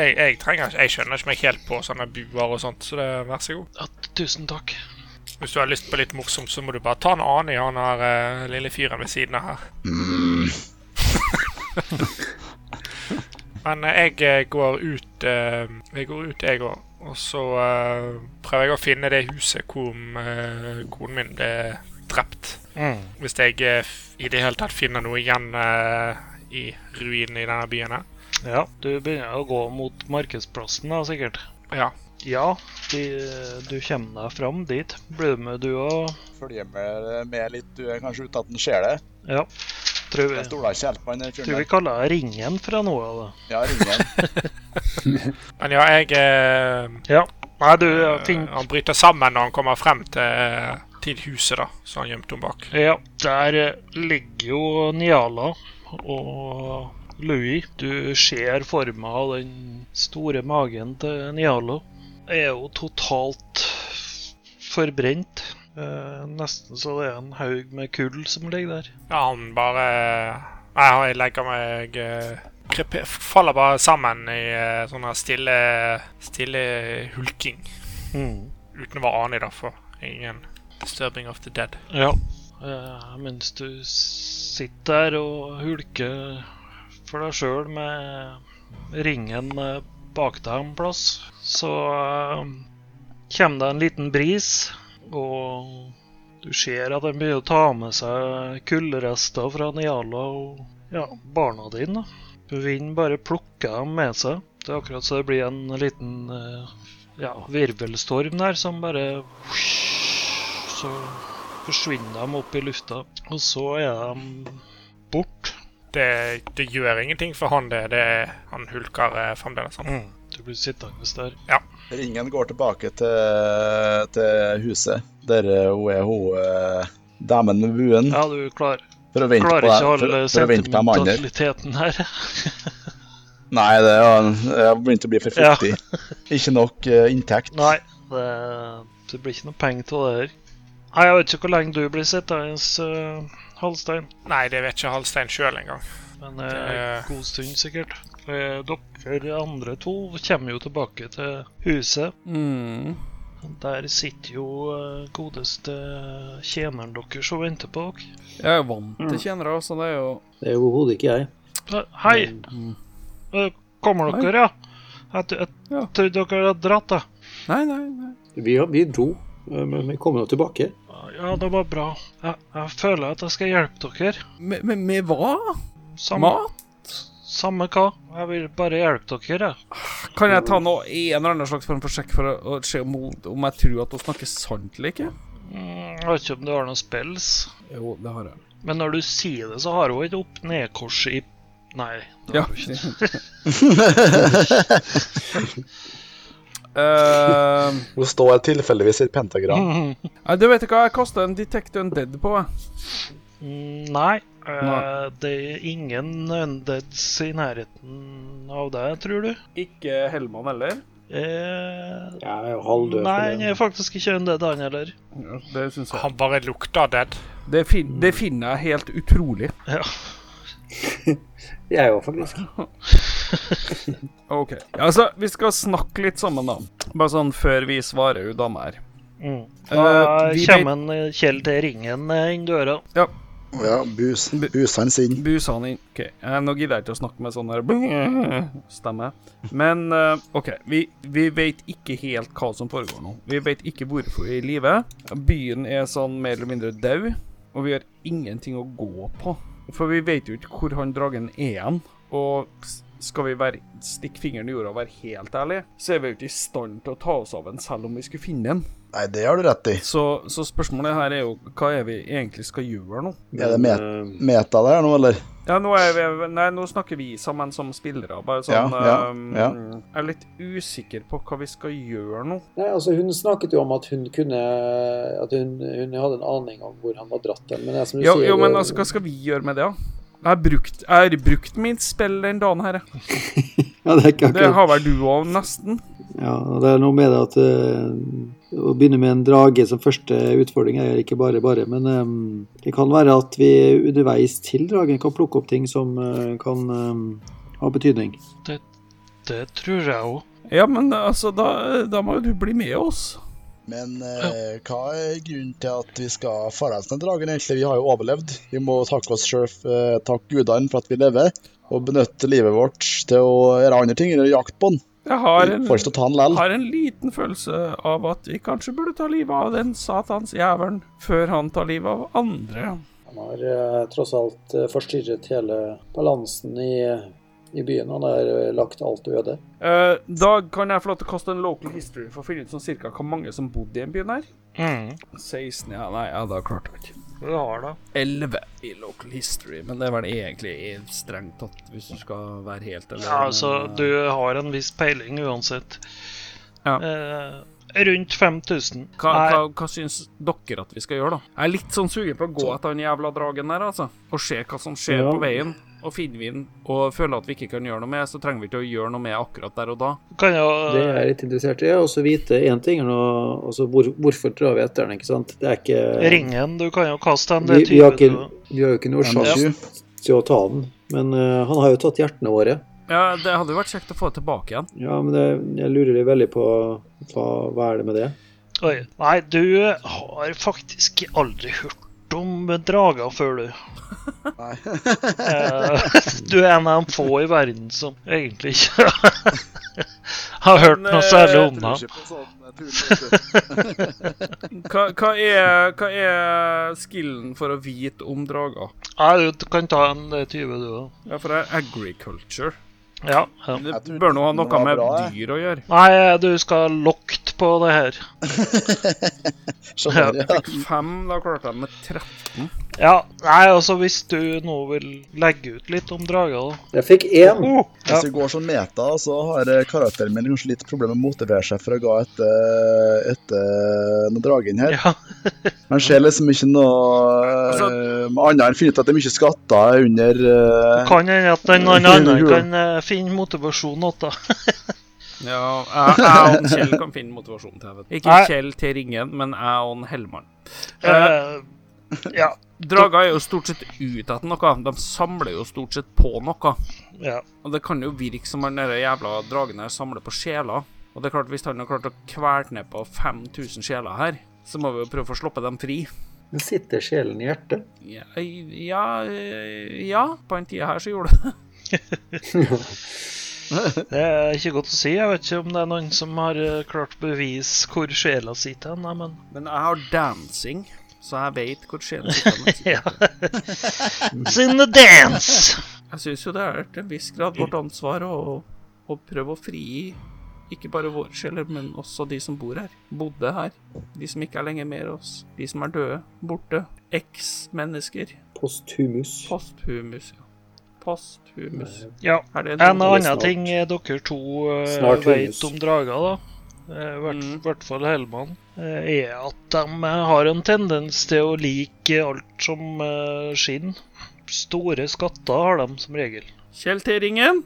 jeg, jeg trenger ikke Jeg skjønner ikke meg helt på sånne buer og sånt, så det, vær så god.
Ja, t- tusen takk.
Hvis du har lyst på litt morsomt, så må du bare ta en annen i han her eh, lille fyren ved siden av her.
Mm.
Men eh, jeg eh, går ut, eh, jeg går ut, jeg òg. Og så eh, prøver jeg å finne det huset hvor eh, konen min ble drept.
Mm.
Hvis jeg eh, f- i det hele tatt finner noe igjen eh, i ruinene i denne byen her.
Ja, du begynner å gå mot markedsplassen da, sikkert.
Ja.
Ja, de, du kommer deg fram dit. Blir du med, du òg?
Følger med, med litt, du er kanskje uten at den ser det.
Ja. Tror vi,
Jeg stoler ikke helt på han der fyren
tror vi
der.
kaller det Ringen fra nå av. da.
Ja, ringen.
Men ja, jeg eh,
Ja. Nei, du,
eh,
Finn
Han bryter sammen når han kommer frem til, eh, til huset, da, som han gjemte henne bak.
Ja, der eh, ligger jo Niala og Louis. Du ser forma av den store magen til Niala. Er jo totalt forbrent. Eh, nesten så det er en haug med kull som ligger der.
Ja, han bare eh, Nei, han- jeg legger meg eh, kryp- Faller bare sammen i eh, sånn her stille, stille hulking. Uten å være anig, da, for ingen disturbing of the dead.
Ja. Eh, mens du sitter der og hulker for deg sjøl med ringen eh, bak deg en plass, så eh, kommer det en liten bris, og du ser at den begynner å ta med seg kullrester fra Niala og ja, barna dine. da. Vinden bare plukker dem med seg. Det er akkurat så det blir en liten eh, ja, virvelstorm der som bare Så forsvinner de opp i lufta, og så er de bort.
Det, det gjør ingenting for han, det. det han hulker eh, fremdeles. Han.
Du blir sittende der.
Ringen går tilbake til, til huset, der eh, hun er hun eh, damen med buen,
Ja, du klar,
for å vente på
klarer
deg.
ikke
Mm. For,
all
for å vente på de andre.
sentimentaliteten her.
Nei, det er, jo- jeg har begynt å bli for
Ja.
fuktig. Ikke nok eh, inntekt.
Nei, det, det blir ikke noe penger av det her. Nei, Jeg vet ikke hvor lenge du blir sittende, uh, Halstein,
Nei, det vet ikke Halstein sjøl engang.
men eh, en god stund sikkert. Eh, Dere andre to kommer jo tilbake til huset.
Mm.
Der sitter jo eh, godeste tjeneren deres og venter på dere.
Jeg er jo vant til tjenere, så det er jo
Det er jo overhodet ikke jeg.
Eh, Hei!
Mm,
Eh, Kommer dere, ja? Jeg, t-
Ja.
jeg trodde dere hadde dratt, da.
Nei, nei, nei.
Vi, har- vi dro, eh, men vi kommer nå tilbake.
Ja, det var bra. Jeg, jeg føler at jeg skal hjelpe dere.
Med, med, med hva?
Samme,
Mat?
samme hva. Jeg vil bare hjelpe dere, jeg.
Kan jeg ta noe i en eller annen slags form for sjekk for å, å se om, hun- om jeg tror at hun snakker sant eller ikke?
Mm, Jeg vet ikke om du har noen spills.
Jo, det har jeg.
Men når du sier det, så har hun et opp-ned-kors i Nei. det
Ja.
har hun ikke.
Eh,
Hun står tilfeldigvis i et pentagram.
Nei, du vet hva, jeg kasta en Detect Undead på. jeg.
Mm, Nei. eh,
Nei.
det er ingen undeads i nærheten av deg, tror du?
Ikke Hellmann heller.
Eh,
Jeg er jo halvdød.
nei,
for
han
det.
er faktisk ikke undead, han heller.
Det syns jeg.
Han bare lukter dead.
Det, fin det finner jeg helt utrolig.
Ja.
Jeg er jo faktisk
OK. Altså, vi skal snakke litt sammen, da. Bare sånn før vi svarer hun dama her.
Mm.
Eh,
Da
vi
kommer en eh, Kjell til ringen eh, inn døra.
Ja, bus, busene sine.
Busa han inn. OK, eh, nå gidder jeg ikke å snakke med sånn der stemme. Men eh, OK, vi, vi vet ikke helt hva som foregår nå. Vi vet ikke hvorfor vi er i live. Byen er sånn mer eller mindre død, og vi har ingenting å gå på. For vi vet jo ikke hvor han dragen er hen. Og s- skal vi være, stikke fingeren i jorda og være helt ærlige, så er vi jo ikke i stand til å ta oss av en selv om vi skulle finne en.
Nei, det har du rett i.
Så, så spørsmålet her er jo hva er vi egentlig skal gjøre nå?
Er det met
eh,
meta der nå, eller?
Ja, nå, er vi, nei, nå snakker vi sammen som spillere. Bare sånn
Ja, ja,
ehm,
ja.
Jeg er litt usikker på hva vi skal gjøre nå.
Nei, altså Hun snakket jo om at hun kunne At hun, hun hadde en aning om hvor han var dratt hen. Men det er som du
Jo,
sier
jo, men
det-
altså, hva skal vi gjøre med det, da? Jeg har brukt, jeg har brukt mitt spill den dagen her. jeg.
ja, det, er ikke
Det
akkurat-
har vel du òg, nesten.
ja, og det er noe med det at eh, Å begynne med en drage som første utfordring er ikke bare bare, men eh, det kan være at vi underveis til dragen kan plukke opp ting som eh, kan eh, ha betydning.
Det tror jeg òg.
Ja, men altså, da, da må jo du bli med oss.
Men eh, hva er grunnen til at vi skal forresten den dragen, egentlig? Vi har jo overlevd. Vi må takke oss sjøl, eh, takke gudene for at vi lever, og benytte livet vårt til å gjøre andre ting enn å jakte på den.
Jeg har en,
Vi Får ikke til å ta den likevel.
har en liten følelse av at vi kanskje burde ta livet av den satans jævelen før han tar livet av andre.
Han har eh, tross alt eh, forstyrret hele balansen i, i byen. Han har eh, lagt alt øde.
Eh, da kan jeg få lov til å kaste en local history Mm. for å finne ut sånn cirka hvor mange som bodde i den byen her. 16, ja, nei, ja, da klarte jeg ikke.
Du har det.
11 i local history, men det er vel egentlig strengt tatt, hvis du skal være helt eh, eller
Ja, altså, du har en viss peiling uansett.
Ja.
Eh, rundt 5000.
Hva,
Nei,
hva, hva syns dere at vi skal gjøre, da? Jeg er litt sånn sugen på å gå etter den jævla dragen der, altså. Og se hva som skjer
Ja.
på veien. Og finner vi den og føler at vi ikke kan gjøre noe med, så trenger vi ikke å gjøre noe med akkurat der og da.
kan jo
Det er jeg litt interessert i. Og så vite én ting, og og så hvor, hvorfor drar vi etter den, ikke sant? Det er ikke
Ringen, eh, du kan jo kaste en
vi,
det
vi, har ikke,
type-
vi har jo ikke noe
Men eh,
sjanse
du-
til å ta den. Men eh, han har jo tatt hjertene våre.
Ja, det hadde jo vært kjekt å få det tilbake igjen.
Ja, men det, jeg lurer litt veldig på hva, hva er det med det?
Oi. Nei, du eh, har faktisk aldri hørt om drager før, du.
Nei.
Eh, du er en av de få i verden som egentlig ikke har hørt noe særlig om
eh,
Jeg
ham.
tror ikke på sånn, jeg tror ikke.
Hva, hva, er, hva er skillen for å vite om drager?
Nei, du kan ta en eh, 20, du òg.
Ja, for det er agriculture.
Ja, ja.
Det
Jeg tror
bør nå ha
den var
noe med
bra, jeg.
dyr å gjøre.
Nei, du skal lokte på det her.
Skjønner, ja.
Fem, da klarte jeg med 13.
Ja, nei, altså hvis du nå vil legge ut litt om drager, da.
Jeg fikk én!
Ja.
Hvis vi går sånn meta, så har eh, karakteren min kanskje litt problemer med å motivere seg for å gå etter, etter noen dragen her.
Ja.
Han ser liksom ikke noe altså, annet enn finne ut at det er mye skatter under eh,
Kan hende at den noen andre kan eh, finne motivasjon til det.
Ja, jeg, jeg og Kjell kan finne motivasjon til det. Ikke
Nei.
Kjell til ringen, men jeg og Hellmann.
Eh, Ja.
Drager er jo stort sett ute etter noe. De samler jo stort sett på noe.
ja.
Og det kan jo virke som han der jævla dragen her samler på sjeler. Og det er klart, hvis han har klart å kvele ned på 5000 sjeler her, så må vi jo prøve å få sluppet dem fri.
Den sitter sjelen i hjertet.
Ja, ja, eh, ja på den tida her så gjorde det det.
Det er ikke godt å si. Jeg vet ikke om det er noen som har eh, klart å bevise hvor sjela sitter hen, nei, men
Men jeg har dancing, så jeg veit hvor sjelen sitter.
Ja. It's in the dance.
Jeg syns jo det er til en viss grad vårt ansvar å, å prøve å frigi ikke bare våre sjeler, men også de som bor her. Bodde her. De som ikke er lenger med oss. De som er døde. Borte. Eks-mennesker.
Posthumus.
Posthumus, ja. Posthumus.
Ja.
Er det
En
Eller
annen
snart.
ting eh, dere to eh,
Snart
vet
Venus.
om drager, da eh, I hvert,
Mm.
hvert fall Hellmann, eh, er at de eh, har en tendens til å like alt som eh, skinn. Store skatter har de som regel.
Kjell T. Ringen.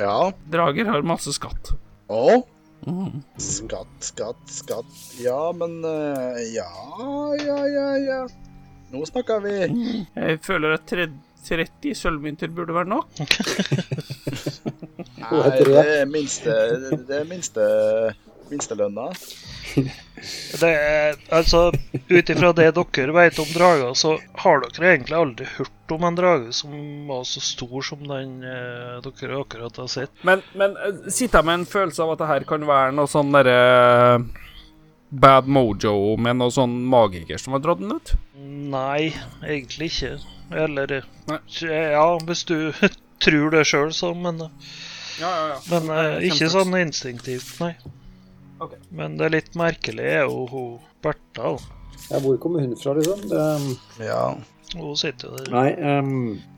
Ja.
Drager har masse skatt.
Å?
Mm.
Skatt, skatt, skatt. Ja, men eh, Ja, ja, ja, ja. Nå snakker vi.
Jeg føler at tre- 30 sølvmynter burde være nok.
Nei, det er minste Det er minste minstelønna.
Det er, altså, Ut ifra det dere vet om drager, så har dere egentlig aldri hørt om en drage som var så stor som den eh, dere akkurat har sett.
Men, men eh, sitter jeg med en følelse av at det her kan være noe sånn derre eh, Bad Mojo med noe sånn magiker som har dratt den ut?
Nei, egentlig ikke. Eller
Nei.
Ja, hvis du tror det sjøl, så, men,
Ja, ja, ja.
men eh, ikke
kjempeflaks.
sånn instinktivt, nei.
Ok.
Men det er litt merkelig er jo hun Bertha. da.
Ja, hvor kommer hun fra, liksom? Det-
Ja.
Hun sitter jo der,
nei, ehm,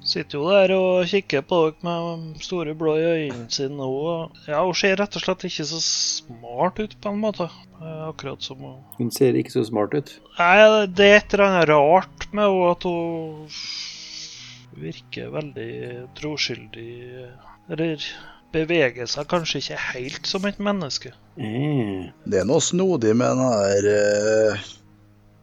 sitter jo der og kikker på dere med store blå i øynene sine. Hun, ja, hun ser rett og slett ikke så smart ut, på en måte. Eh, Akkurat som hun
hun ser ikke så smart ut.
Nei, det er et eller annet rart med henne at hun virker veldig troskyldig. Eller beveger seg kanskje ikke helt som et menneske.
Mm.
Det er noe snodig med den her eh,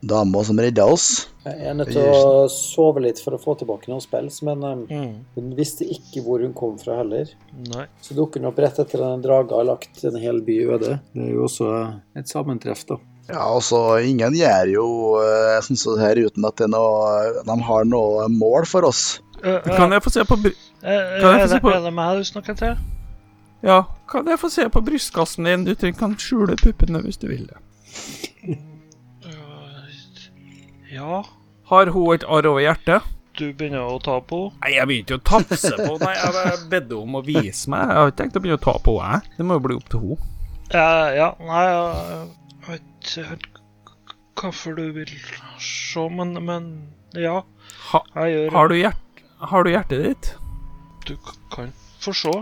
dama som redda oss.
Jeg er nødt til å sove litt for å få tilbake noen spels, men ehm,
Mm,
hun visste ikke hvor hun kom fra heller.
Nei.
Så dukker den opp rett etter at en drage har lagt en hel by øde. Det er jo også et sammentreff, da.
Ja, altså, ingen gjør jo eh, sånn som det her uten at det er noe, de har noe mål for oss.
Kan jeg få se på bry...
Eh, er,
jeg få
det,
se på-
er det meg du snakker til?
Ja, kan jeg få se på brystkassen din? Du trenger kan skjule puppene hvis du vil det.
Ja.
Har hun et arr over hjertet?
Du begynner å ta på henne.
Nei, jeg begynte jo å tafse på Nei, jeg bare bedde om å vise meg. Jeg har ikke tenkt å begynne å ta på henne. jeg. Det må jo bli opp til henne.
Eh, ja, nei jeg vet ikke helt hvorfor du vil se, men, men ja.
Ha-
Jeg gjør
Har du, hjert, har du hjertet ditt?
Du k- kan få se.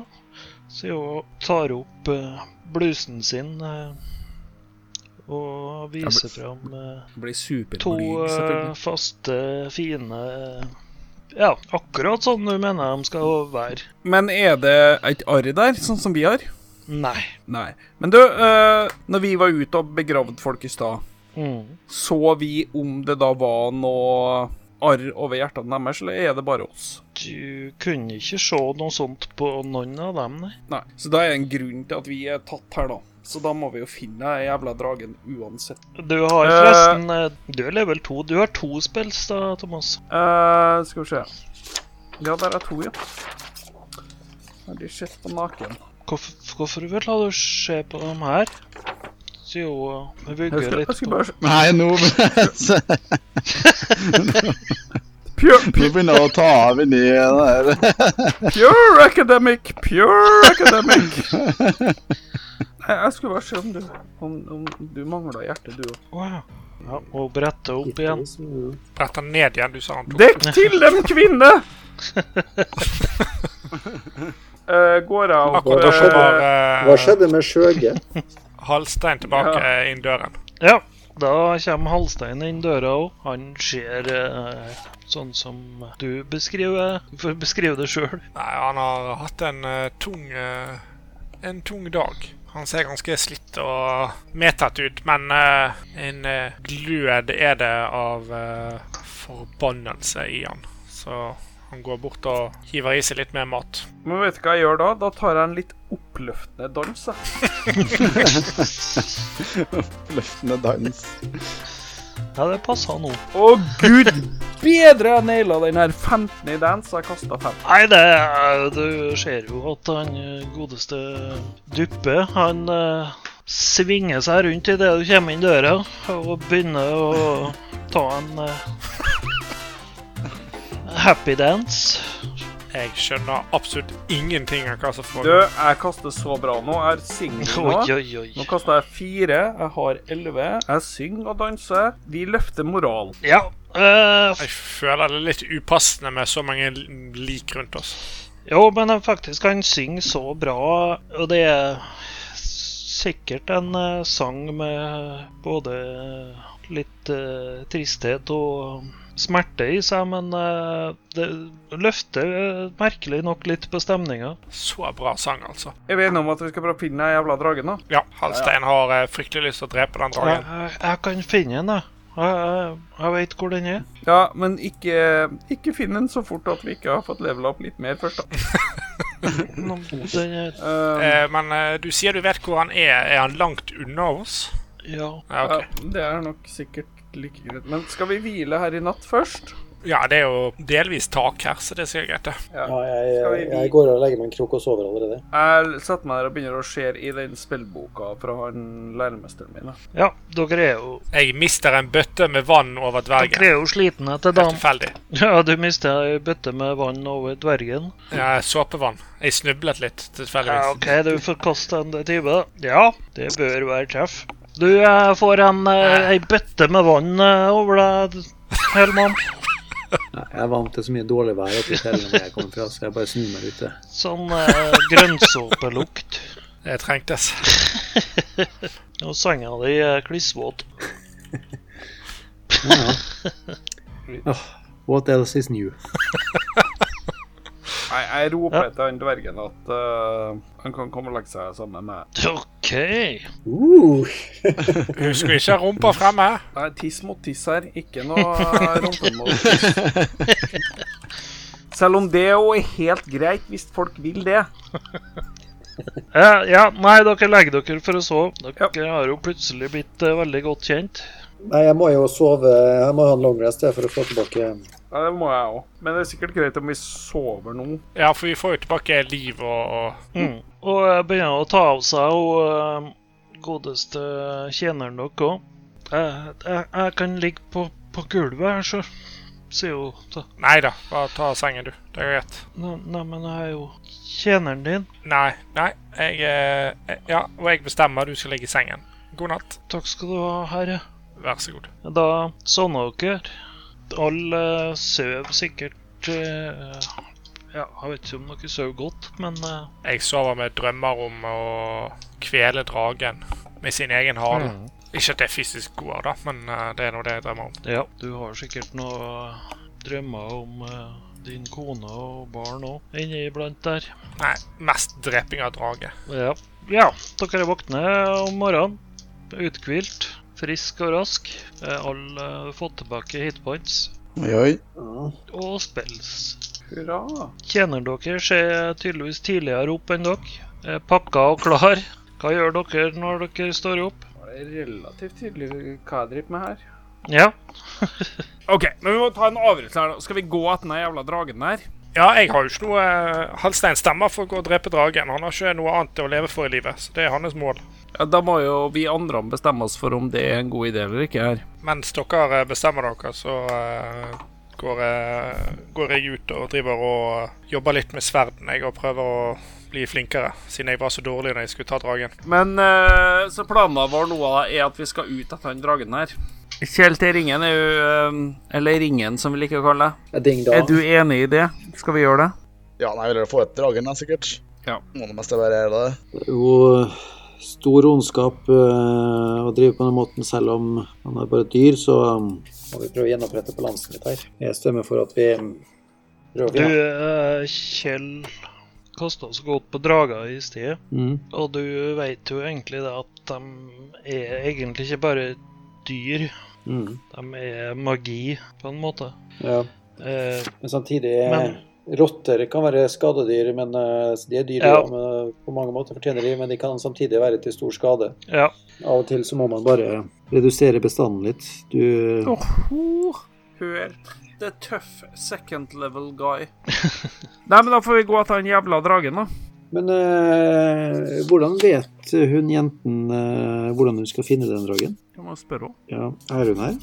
Sier hun og tar opp eh, blusen sin eh, og viser fram eh,
Blir
to
superblyg,
eh,
selvfølgelig.
faste, fine eh, Ja, akkurat sånn du mener de skal være.
Men er det et arr der, sånn som vi har?
Nei.
Nei. Men du, eh, når vi var ute og begravde folk i stad,
Mm.
så vi om det da var noe arr over hjertene deres, eller er det bare oss?
Du kunne ikke se noe sånt på noen av dem, nei.
Nei. Så da er det en grunn til at vi er tatt her, da. Så da må vi jo finne den jævla dragen uansett.
Du har
Eh.
forresten eh, Du er level 2. Du har to spills da, Thomas.
eh skal vi se Ja, der er to, ja. Har de sett på naken?
Hvorfor, hvorfor vil du se på dem her? Sier hun og
Jeg
vugger
skulle, jeg
litt.
skulle
på-
bare se-
Nei, nå, nå
Pure, pure,
begynner jeg å ta av inni den der.
pure academic! Pure academic! Nei, jeg skulle bare se om du, om, om du mangla hjerte, du òg.
Wow. Ja, og brette opp igjen.
Brett den ned igjen, du sa han tok.
Dekk til dem, kvinne! Eh, går jeg opp
Akkurat da
skjedde?
kommer
Hva
eh,
skjedde med Sjøge?
Halstein tilbake eh, inn døren.
Ja, da kommer Halstein inn døra òg. Han ser eh, sånn som du beskriver For beskriv det sjøl.
Nei, han har hatt en eh, tung eh, en tung dag. Han ser ganske slitt og medtatt ut, men eh, en eh, glød er det av eh, forbannelse i han. Så han går bort og hiver i seg litt mer mat.
Men vet du hva jeg gjør da? Da tar jeg en litt oppløftende dans. jeg.
Løftende dans.
Ja, det passer nå.
Å, gud bedre jeg naila den her 15 i dance, jeg kasta 5.
Nei, det er- Du ser jo at han eh, godeste Duppe, han eh, svinger seg rundt idet du kommer inn døra, og begynner å ta en eh, happy dance.
Jeg skjønner absolutt ingenting av hva som
Du,
foregår.
jeg kaster så bra nå. Jeg er singel nå.
Oi, oi, oi.
Nå kaster jeg fire, jeg har elleve. Jeg synger og danser. Vi løfter moral.
Ja. eh,
Jeg føler det er litt upassende med så mange l- lik rundt oss.
Jo, men han faktisk han synger så bra, og det er sikkert en eh, sang med både litt eh, tristhet og smerte i seg, men eh, det løfter eh, merkelig nok litt på stemninga.
Så bra sang, altså.
Er vi enige om at vi skal prøve å finne den jævla dragen, da?
Ja, Halstein har eh, fryktelig lyst til å drepe den
Jeg,
dragen.
jeg, jeg kan finne den, jeg. Jeg, jeg, jeg veit hvor den er.
Ja, men ikke, ikke finn den så fort at vi ikke har fått levela opp litt mer først, da.
Nå, Den er
Eh,
Eh, men eh, du sier du vet hvor han er. Er han langt unna oss?
Ja.
Ja, ok.
ja, det er nok sikkert like greit. Men skal vi hvile her i natt først?
ja, det er jo delvis tak her, så det er sikkert greit. det.
Ja, jeg, jeg går og legger meg en krok og sover allerede.
Jeg setter meg der og begynner å se i den spillboka fra han læremesteren min. da.
ja, dere er jo,
Jeg mister en bøtte med vann over
dere
dvergen.
er jo slitne etter
Helt
dagen.
tilfeldig.
Ja, du mista ei bøtte med vann over dvergen.
Ja, såpevann. Jeg snublet litt,
Ja,
tilfeldigvis.
OK, du får kaste en D20. da. Ja, det bør være treff. Du eh, får en eh, ei bøtte med vann eh, over deg, Helman.
Nei, jeg er vant til så mye dårlig vær at jeg teller når jeg kommer fra, så jeg bare snur meg ute.
Sånn eh, grønnsåpelukt.
Det trengtes.
Og senga di er klissvåt.
What else is new?
Nei, jeg roper
Ja.
etter han dvergen at eh, han kan komme og legge seg sammen med
OK. Eh,
Uh,
Husker ikke rumpa fremme.
Nei, tiss mot tiss her, ikke noe rumpe mot tiss. Selv om det jo er helt greit, hvis folk vil det.
Ja, ja, nei, dere legger dere for å sove. Dere har jo plutselig blitt eh, veldig godt kjent.
Nei, jeg må jo sove. Jeg må ha en long rest jeg, for å få tilbake
Ja, det må jeg òg. Men det er sikkert greit om vi sover nå.
Ja, for vi får jo tilbake liv og, og
Mm. Og jeg begynner å ta av seg og eh, godeste tjeneren deres òg. Jeg, jeg, jeg kan ligge på, på gulvet her, så sier hun. da.
Nei da, bare ta sengen, du. Det er greit.
Nei, nei, men jeg er jo tjeneren din.
Nei, nei. eh, Jeg eh, Ja, og jeg bestemmer. Du skal ligge i sengen. God natt.
Takk skal du ha, herre.
Vær så god.
Da sovner dere. Alle eh, sover sikkert eh, Ja, jeg vet ikke om dere sover godt, men eh,
Jeg sover med drømmer om å kvele dragen med sin egen hale. Ikke at det er fysisk god, da, men eh, det er nå det jeg drømmer om.
ja, du har sikkert noen drømmer om eh, din kone og barn òg inniblant der.
Nei, mest dreping av drage.
Ja. ja, dere er våkne om morgenen. Uthvilt, frisk og rask. Eh, Alle har fått tilbake hitpoints
Oi, oi.
Ja.
og spells.
Hurra.
Tjeneren deres er tydeligvis tidligere opp enn dere. Er Pakka og klar. Hva gjør dere når dere står opp?
Det er relativt tydelig hva jeg driver med her.
Ja,
OK, men vi må ta en avgjørelse her, da. Skal vi gå etter den jævla dragen der?
Ja, jeg har jo ikke noe eh, Halstein stemmer for å gå og drepe dragen. Han har ikke noe annet å leve for i livet, så det er hans mål.
Ja, da må jo vi andre bestemme oss for om det er en god idé eller ikke her.
Mens dere eh, bestemmer dere, så eh, går, jeg, går jeg ut og driver og eh, jobber litt med sverden. Jeg og prøver å bli flinkere, siden jeg var så dårlig når jeg skulle ta dragen.
Men eh, så planen vår nå er at vi skal ut etter den dragen her. Kjell til ringen er jo eh, Eller ringen, som vi liker å kalle det.
Ding dong.
Er du enig i det? Skal vi gjøre det?
Ja, nei, jeg vil få et dragen, da, sikkert.
Ja.
Må det meste være det.
Det er jo stor ondskap eh, å drive på den måten, selv om man er bare et dyr, så um, må vi prøve å gjenopprette balansen litt her. Jeg stemmer for at vi um, prøver.
du
ja.
eh, Kjell kasta så godt på drager i sted,
Mm.
og du veit jo egentlig det at de er egentlig ikke bare dyr.
Mm.
De er magi, på en måte.
ja.
Eh,
Men samtidig eh,
Men-
Rotter kan være skadedyr, men eh, de er dyr
Ja.
ja, men, eh, på mange måter, fortjener de, men de kan samtidig være til stor skade.
ja.
Av og til så må man bare redusere bestanden litt. Du
Åhå, hør. The tough second level guy. Nei, men da får vi gå etter den jævla dragen, da.
Men eh, hvordan vet hun jenten eh, hvordan hun skal finne den dragen?
Jeg må spørre henne.
Ja, er hun her?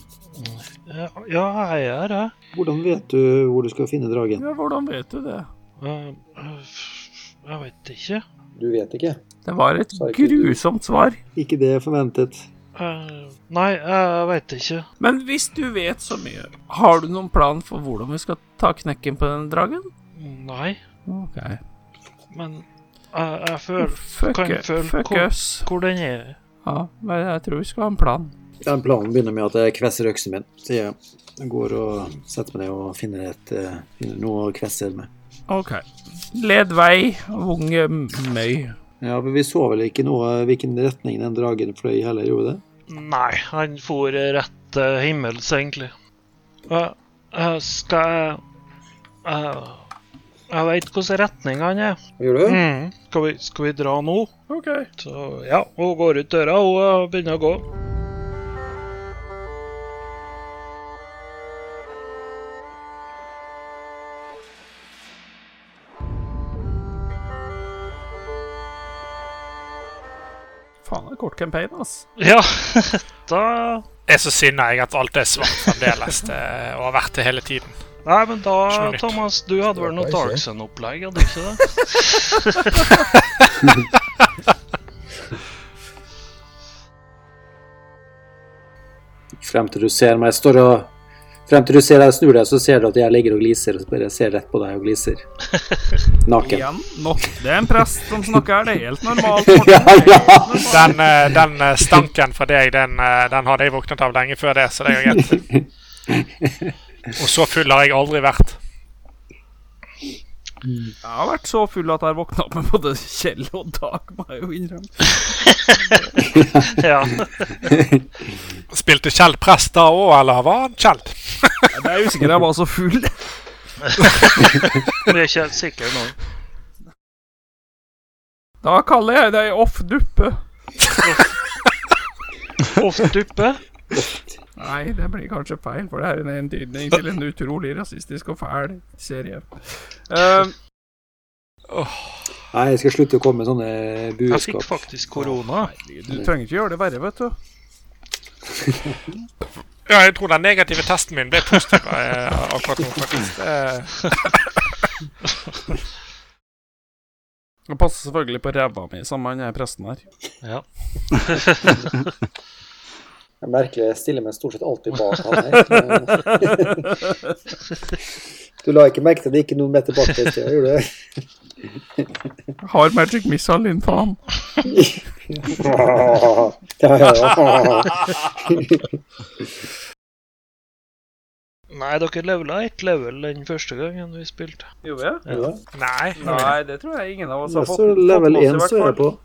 Ja, ja, jeg er her,
Hvordan vet du hvor du skal finne dragen?
Ja, hvordan vet du det?
jeg. Eh, Jeg veit ikke.
Du vet ikke.
Det var et
Sa ikke du.
grusomt svar.
Ikke det jeg forventet.
Eh, Nei, jeg veit ikke.
Men hvis du vet så mye, har du noen plan for hvordan vi skal ta knekken på den dragen?
Nei,
OK.
men jeg, jeg føler
Fuck,
Kan
it,
føle
fuck
hvor-
us.
hvor den er.
Ja, men jeg tror vi skal ha en plan.
Den planen begynner med at jeg kvesser øksen min, sier jeg. Jeg går og setter meg ned og finner, et, eh, finner noe å kvesse med.
OK. Led vei, unge møy.
Ja, men vi så vel ikke noe hvilken retning den dragen fløy i heller, gjorde vi det?
Nei, han for rett til himmels, egentlig. Eh, eh, skal jeg eh, Jeg veit hvilken retning han er.
Gjorde du?
Mm.
Skal, vi, skal vi dra nå? OK. Så ja, hun går ut døra hun, og begynner å gå.
Faen, det er kort campaign, ass.
Ja, da
Jeg er så sinna jeg at alt er svart fremdeles, det, og har vært det hele tiden.
Nei, men da,
Skjønner.
Thomas, du hadde vel noe
Håper
Dark
jeg ikke.
Sun-opplegg, hadde du ikke det?
Mm. Frem til du ser meg, jeg står og Frem til du ser jeg snur deg, så ser du at jeg ligger og gliser, og så bare ser rett på deg og gliser. Naken.
Igjen, nok. Det er en prest som snakker her, det er helt normalt.
Ja, ja!
Den, eh, den eh, stanken fra deg, den, eh, den hadde jeg våknet av lenge før det, så det er jo greit. Og så full har jeg aldri vært.
Jeg har vært så full at jeg har våkna opp med både Kjell og Dag, må jeg jo innrømme.
Ja.
Spilte Kjell prest da òg, eller var han Kjell?
Jeg er usikker, jeg var så
Vi
full.
er ikke helt sikre nå.
Da kaller jeg deg off duppe.
Oftuppe.
Nei, det blir kanskje feil, for det er en entydning til en utrolig rasistisk og fæl serie. Eh,
Nei, jeg skal slutte å komme med sånne
Jeg fikk
budskap.
faktisk korona.
du trenger ikke gjøre det verre, vet du.
Ja, jeg tror den negative testen min ble positiv eh, akkurat nå, faktisk. Eh,
Jeg passer selvfølgelig på ræva mi, sammen med han er presten her.
Ja.
Det er merkelig, jeg stiller meg stort sett alltid bak han her. Du la ikke merke til at det gikk noen meter bak deg i sted, gjorde du?
Har magic missile din, faen.
Ja, ja, ja.
Nei, dere levela ett level den første gangen vi spilte.
Gjorde vi det?
Ja.
Nei.
Nei, det tror jeg ingen av oss har
Jeg
Altså, fått.
står level
fått med
1
oss i
står jeg
hvert
på.
fall.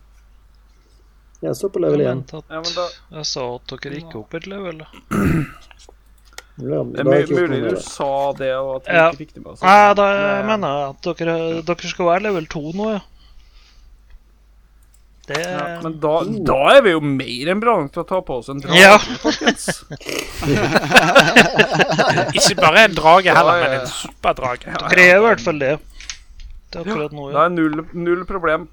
Jeg står på
Jeg
level 1.
mente at
Ja, men da, Sånn
jeg sa at dere gikk opp et level.
Det
det er mu- mulig du sa det, og at vi
Ja.
ikke fikk det med oss.
Nei, da mener jeg at dere, dere skal være level 2 nå, ja. Det
Ja, men da, da er vi jo mer enn bra nok til å ta på oss en drage,
Ja.
folkens.
Ikke bare en drage heller,
Ja, ja,
men
ja.
en superdrage.
Dere er i hvert fall det. Det er akkurat nå,
Da
ja.
er null, null problem.